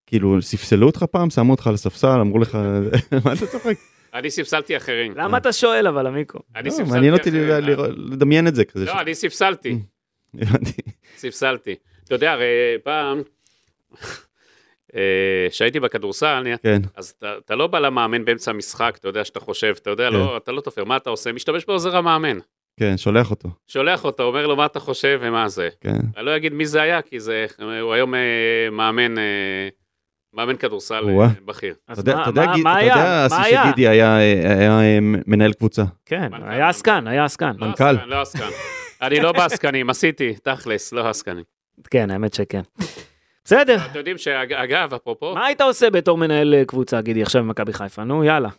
[SPEAKER 3] כאילו, ספסלו אותך פעם, שמו אותך על הספסל, אמרו לך, <laughs> מה אתה צוחק?
[SPEAKER 4] אני ספסלתי אחרים.
[SPEAKER 2] למה אתה שואל אבל, עמיקו?
[SPEAKER 4] אני
[SPEAKER 3] לא,
[SPEAKER 4] ספסלתי
[SPEAKER 3] מעניין אותי
[SPEAKER 4] אחרים.
[SPEAKER 3] ל- לראות- לדמיין את זה כזה.
[SPEAKER 4] לא, אני ספסלתי.
[SPEAKER 3] הבנתי.
[SPEAKER 4] ספסלתי. אתה יודע, הרי פעם, אה, כשהייתי בכדורסל, אני-
[SPEAKER 3] כן,
[SPEAKER 4] אז אתה, אתה לא בא למאמן באמצע המשחק, אתה יודע שאתה חושב, אתה יודע,
[SPEAKER 3] כן.
[SPEAKER 4] לא, אתה לא תופר, מה אתה עושה? משתמש בעוזר המאמן.
[SPEAKER 3] כן, שולח אותו.
[SPEAKER 4] שולח אותו, אומר לו מה אתה חושב ומה זה.
[SPEAKER 3] כן,
[SPEAKER 4] אני לא אגיד מי זה היה, כי זה, הוא היום אה, מאמן, אה, מאמן כדורסל
[SPEAKER 3] או-אה.
[SPEAKER 4] אה, בכיר.
[SPEAKER 2] אז
[SPEAKER 3] אתה יודע,
[SPEAKER 2] מה-
[SPEAKER 3] אתה יודע,
[SPEAKER 2] מה-
[SPEAKER 3] גיד-
[SPEAKER 2] מה
[SPEAKER 3] אתה
[SPEAKER 2] היה?
[SPEAKER 3] יודע,
[SPEAKER 2] מה
[SPEAKER 3] אסי
[SPEAKER 2] היה?
[SPEAKER 3] שגידי היה אה, היה, אה, מנהל קבוצה.
[SPEAKER 2] כן,
[SPEAKER 4] מנכ"ל.
[SPEAKER 2] היה עסקן, היה עסקן.
[SPEAKER 4] לא
[SPEAKER 3] מנכ"ל.
[SPEAKER 4] עסקן, לא עסקן. אני לא בעסקנים, עשיתי, תכלס, לא עסקנים.
[SPEAKER 2] כן, האמת שכן. בסדר,
[SPEAKER 4] אתם יודעים שאגב, אפרופו,
[SPEAKER 2] מה היית עושה בתור מנהל אה, קבוצה, גידי, עכשיו במכבי חיפה? נו, יאללה.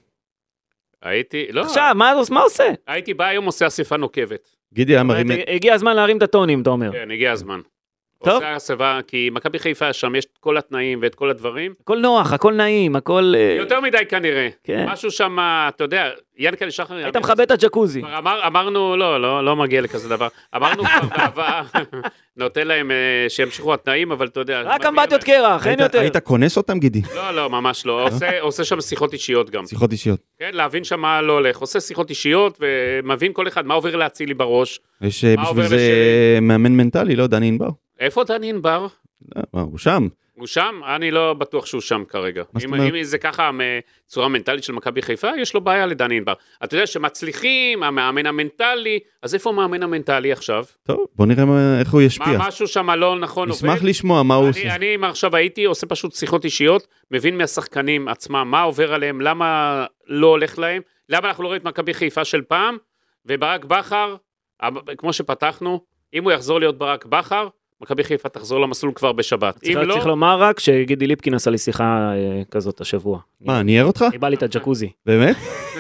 [SPEAKER 4] הייתי, לא,
[SPEAKER 2] עכשיו, מה מה עושה?
[SPEAKER 4] הייתי בא היום עושה אסיפה נוקבת.
[SPEAKER 3] גידי היה מרים...
[SPEAKER 2] אומרת, הגיע הזמן להרים את הטונים, אתה אומר.
[SPEAKER 4] כן, הגיע הזמן.
[SPEAKER 2] טוב.
[SPEAKER 4] עושה הסבה, כי מכבי חיפה שם, יש את כל התנאים ואת כל הדברים.
[SPEAKER 2] הכל נוח, הכל נעים, הכל... אה,
[SPEAKER 4] יותר מדי כנראה.
[SPEAKER 2] כן.
[SPEAKER 4] משהו שם, אתה יודע, ינקלה שחר...
[SPEAKER 2] היית מכבה את הג'קוזי.
[SPEAKER 4] כבר אמר, אמרנו, לא, לא, לא מגיע לכזה דבר. אמרנו כבר
[SPEAKER 2] <laughs>
[SPEAKER 4] בעבר, נותן להם אה, שימשיכו התנאים, אבל אתה יודע...
[SPEAKER 2] רק
[SPEAKER 4] מגיע
[SPEAKER 2] אמבטיות
[SPEAKER 4] להם.
[SPEAKER 2] קרח, אין
[SPEAKER 3] היית-
[SPEAKER 2] יותר.
[SPEAKER 3] היית כונס אותם, גידי?
[SPEAKER 4] לא, לא, ממש לא. עושה, עושה שם שיחות אישיות גם.
[SPEAKER 3] שיחות אישיות.
[SPEAKER 4] כן, להבין שם מה לא הולך. עושה שיחות אישיות ומבין כל אחד מה עובר להצילי בראש.
[SPEAKER 3] יש אה,
[SPEAKER 4] מה
[SPEAKER 3] בשביל
[SPEAKER 4] עובר
[SPEAKER 3] זה
[SPEAKER 4] לשרי?
[SPEAKER 3] מאמן מנטלי, לא, דני ענבר.
[SPEAKER 4] איפה דני ענבר?
[SPEAKER 3] אה, מה, הוא שם.
[SPEAKER 4] הוא שם? אני לא בטוח שהוא שם כרגע.
[SPEAKER 3] מה זאת
[SPEAKER 4] אם,
[SPEAKER 3] אומרת?
[SPEAKER 4] אם זה ככה צורה מנטלית של מכבי חיפה, יש לו בעיה לדני ענבר. אתה יודע שמצליחים, המאמן המנטלי, אז איפה המאמן המנטלי עכשיו?
[SPEAKER 3] טוב, בוא נראה מה- איך הוא ישפיע.
[SPEAKER 4] מה, משהו שם לא נכון עובד?
[SPEAKER 3] נשמח לשמוע מה הוא עושה.
[SPEAKER 4] אני, אני אם עכשיו הייתי עושה פשוט שיחות אישיות, מבין מהשחקנים עצמם מה עובר עליהם, למה לא הולך להם, למה אנחנו לא רואים את מכבי חיפה של פעם, וברק בכר, אמ- כמו שפתחנו, אם הוא יחזור להיות ברק בכר, מכבי חיפה תחזור למסלול כבר בשבת. אם
[SPEAKER 2] צריך-
[SPEAKER 4] לא,
[SPEAKER 2] צריך לומר רק שגידי ליפקין עשה לי שיחה אה, כזאת השבוע.
[SPEAKER 3] מה, ניער אותך?
[SPEAKER 2] ניבא לי את הג'קוזי.
[SPEAKER 3] באמת?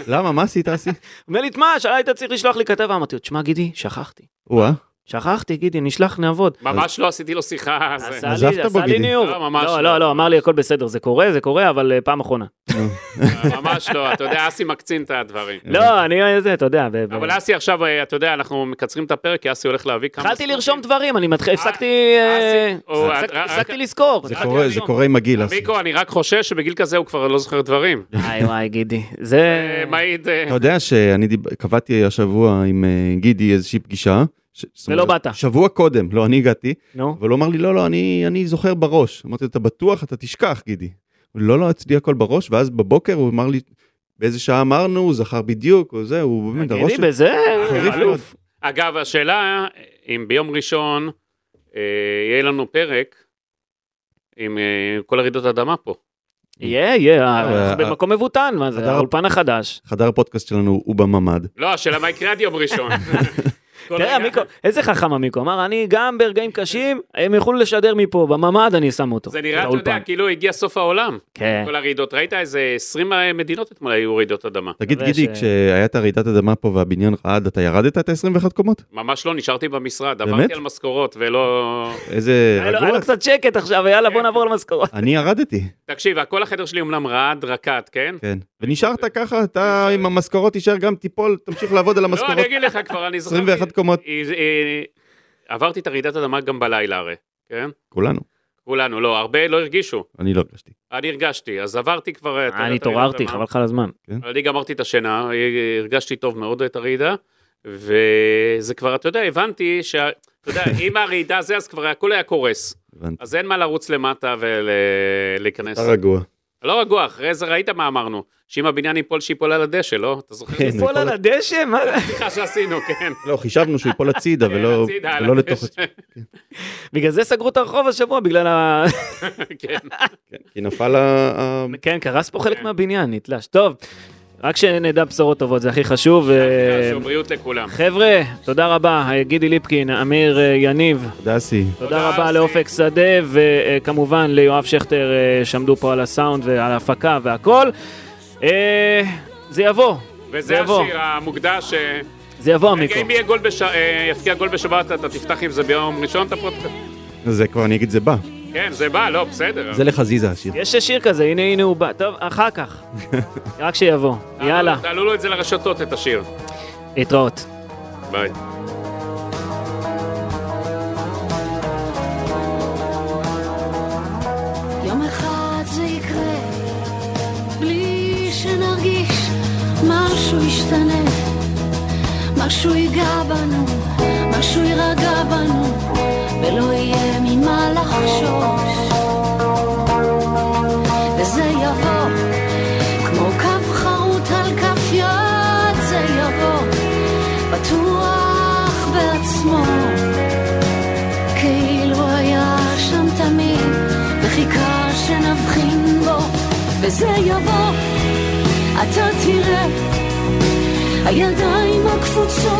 [SPEAKER 3] למה, מה עשית, אסי?
[SPEAKER 2] אומר לי, תשמע, שאלה היית צריך לשלוח לי כתבה. אמרתי לו, תשמע, גידי, שכחתי.
[SPEAKER 3] או-אה.
[SPEAKER 2] שכחתי, גידי, נשלח, נעבוד.
[SPEAKER 4] ממש לא עשיתי לו שיחה. זה-
[SPEAKER 2] עשה
[SPEAKER 3] עזבת
[SPEAKER 2] לי,
[SPEAKER 3] בו,
[SPEAKER 2] עשה לי
[SPEAKER 3] גידי.
[SPEAKER 2] ניעור.
[SPEAKER 4] לא, ממש
[SPEAKER 2] לא,
[SPEAKER 4] לא.
[SPEAKER 2] לא, לא, אמר לי, הכל בסדר, זה קורה, זה קורה, אבל אה, פעם אחרונה.
[SPEAKER 4] ממש לא, אתה יודע, אסי מקצין את הדברים.
[SPEAKER 2] לא, אני זה, אתה יודע. ב- ב-
[SPEAKER 4] אבל אסי עכשיו, אה, אתה יודע, אנחנו מקצרים את הפרק, כי אסי הולך להביא כמה...
[SPEAKER 2] התחלתי
[SPEAKER 4] ספורטים.
[SPEAKER 2] לרשום דברים, אני מתחיל, הפסקתי... אה,
[SPEAKER 4] אסי, או- אה,
[SPEAKER 2] הפסק-
[SPEAKER 4] רק-
[SPEAKER 2] הפסקתי לזכור.
[SPEAKER 3] זה
[SPEAKER 2] התחלתי
[SPEAKER 3] קורה, זה
[SPEAKER 2] לרשום.
[SPEAKER 3] קורה עם הגיל, אסי.
[SPEAKER 4] מיקו, אני רק חושש שבגיל כזה הוא כבר לא זוכר דברים.
[SPEAKER 2] וואי וואי, גידי. זה...
[SPEAKER 4] אה, מעיד... אה,
[SPEAKER 3] אתה יודע שאני דיב- קבעתי השבוע עם אה, גידי איזושהי פגישה. ש- זאת
[SPEAKER 2] ולא
[SPEAKER 3] אומרת,
[SPEAKER 2] באת.
[SPEAKER 3] שבוע קודם, לא, אני הגעתי,
[SPEAKER 2] נו.
[SPEAKER 3] אבל הוא אמר לי, לא, לא, אני אני זוכר בראש. אמרתי לו, אתה בטוח? אתה תשכח, גידי. הוא, לא, לא, אצלי הכל בראש, ואז בבוקר הוא אמר לי, באיזה שעה אמרנו, הוא זכר בדיוק, הוא זה, הוא באמת, הראש
[SPEAKER 2] גידי
[SPEAKER 3] שלו
[SPEAKER 2] בזה?
[SPEAKER 3] חריף מאוד.
[SPEAKER 2] אלוף.
[SPEAKER 4] אגב, השאלה, אה, אם ביום ראשון אה, יהיה לנו פרק עם אה, כל הרעידות האדמה פה.
[SPEAKER 2] יהיה, יהיה, אה, אנחנו
[SPEAKER 3] אבל-
[SPEAKER 2] במקום מבוטן, מה זה,
[SPEAKER 3] חדר-
[SPEAKER 2] האולפן החדש.
[SPEAKER 3] חדר הפודקאסט שלנו הוא בממ"ד.
[SPEAKER 4] לא, השאלה מה יקרה עד יום
[SPEAKER 2] <laughs>
[SPEAKER 4] ראשון. כל
[SPEAKER 2] תראה,
[SPEAKER 4] רגע-
[SPEAKER 2] המיקו, איזה חכם המיקו, אמר, אני גם ברגעים קשים, הם יוכלו לשדר מפה, בממ"ד אני שם אותו.
[SPEAKER 4] זה נראה, אתה יודע,
[SPEAKER 2] באולפן.
[SPEAKER 4] כאילו הגיע סוף העולם.
[SPEAKER 2] כן.
[SPEAKER 4] כל הרעידות. ראית איזה 20 מדינות אתמול היו רעידות אדמה.
[SPEAKER 3] תגיד,
[SPEAKER 2] מקווה
[SPEAKER 3] גידי,
[SPEAKER 2] ש-
[SPEAKER 3] כשהייתה רעידת אדמה פה והבניין רעד, אתה ירדת את ה-21 קומות?
[SPEAKER 4] ממש לא, נשארתי במשרד.
[SPEAKER 3] באמת?
[SPEAKER 4] עברתי על משכורות ולא...
[SPEAKER 3] איזה
[SPEAKER 2] היה לו- היה
[SPEAKER 3] רגוע.
[SPEAKER 2] לו קצת שקט עכשיו, יאללה,
[SPEAKER 4] כן.
[SPEAKER 2] בוא נעבור למשכורות.
[SPEAKER 4] אה,
[SPEAKER 3] אני ירדתי.
[SPEAKER 4] תקשיב, כל החדר שלי אומנם רעד רקד, כן?
[SPEAKER 3] כן. ונשארת ככה, אתה עם המשכורות תישאר גם תיפול, תמשיך לעבוד על
[SPEAKER 4] אוקיי. לא,
[SPEAKER 3] המשכורות.
[SPEAKER 4] אני אגיד לך כבר, אני זוכר...
[SPEAKER 3] 21 קומות.
[SPEAKER 4] אה, אה, עברתי את הרעידת אדמה גם בלילה הרי, כן?
[SPEAKER 3] כולנו.
[SPEAKER 4] כולנו, לא, הרבה לא הרגישו.
[SPEAKER 3] אני לא הרגשתי.
[SPEAKER 4] אני הרגשתי, אז עברתי כבר... את- את
[SPEAKER 2] אה, אני
[SPEAKER 4] הרעידת
[SPEAKER 2] התעוררתי,
[SPEAKER 4] אדמה.
[SPEAKER 2] חבל לך על הזמן.
[SPEAKER 4] אבל אני גמרתי את השינה, אה, הרגשתי טוב מאוד את הרעידה, וזה כבר, אתה יודע, הבנתי ש...
[SPEAKER 3] <laughs>
[SPEAKER 4] אתה יודע, עם הרעידה זה, אז כבר הכל היה קורס.
[SPEAKER 3] הבנתי.
[SPEAKER 4] אז אין מה לרוץ למטה ולהיכנס.
[SPEAKER 3] אתה רגוע.
[SPEAKER 4] לא רגוע, אחרי זה ראית מה אמרנו, שאם הבניין ייפול, שיפול על הדשא, לא? אתה זוכר?
[SPEAKER 3] כן.
[SPEAKER 2] ליפול על הדשא? מה זה?
[SPEAKER 4] סליחה שעשינו, כן.
[SPEAKER 3] לא, חישבנו שהוא ייפול הצידה
[SPEAKER 4] כן,
[SPEAKER 3] ולא
[SPEAKER 4] <laughs> הצידה, על
[SPEAKER 3] ולא
[SPEAKER 4] הדשא.
[SPEAKER 3] לתוך... הצ-
[SPEAKER 2] <laughs> בגלל זה סגרו את הרחוב השבוע, בגלל ה...
[SPEAKER 4] <laughs> כן.
[SPEAKER 3] כן, כי נפל ה...
[SPEAKER 4] <laughs>
[SPEAKER 3] ה-
[SPEAKER 2] <laughs> כן, קרס פה חלק מהבניין, נתלש. טוב, רק שנדע בשורות טובות, זה הכי חשוב. אה,
[SPEAKER 4] בריאות לכולם.
[SPEAKER 2] חבר'ה, תודה רבה, אה, גידי ליפקין, אמיר אה, יניב,
[SPEAKER 3] דסי.
[SPEAKER 2] תודה
[SPEAKER 4] אסי.
[SPEAKER 2] רבה לאופק שדה, וכמובן ליואב שכטר אה, שעמדו פה על הסאונד ועל ההפקה והכל. אה, זה יבוא, זה
[SPEAKER 4] וזה
[SPEAKER 2] יבוא,
[SPEAKER 4] השיר המוקדש, אה,
[SPEAKER 2] זה יבוא המיקרו.
[SPEAKER 4] אם יהיה גול בש- אה, יפקיע גול בשבת, אתה תפתח עם זה ביום ראשון את הפודקאסט.
[SPEAKER 3] זה כבר, אני אגיד, זה בא.
[SPEAKER 4] כן, זה בא, לא, בסדר.
[SPEAKER 3] זה לחזיזה השיר.
[SPEAKER 2] יש שיר כזה, הנה הנה הוא בא, טוב, אחר <laughs> כך, רק שיבוא, יאללה,
[SPEAKER 4] תעלו לו את זה לרשתות, את השיר.
[SPEAKER 2] להתראות.
[SPEAKER 4] ביי.
[SPEAKER 6] יום אחד זה יקרה, בלי שנרגיש משהו ישתנה, משהו ייגע בנו, משהו יירגע בנו, ולא יהיה ממה לחשוש. וזה יבוא, כמו קו חרוט על כף יד, זה יבוא, בטוח בעצמו. כאילו היה שם תמיד, וחיכה שנבחין בו, וזה יבוא, אתה תראה, הידיים הקפוצות לא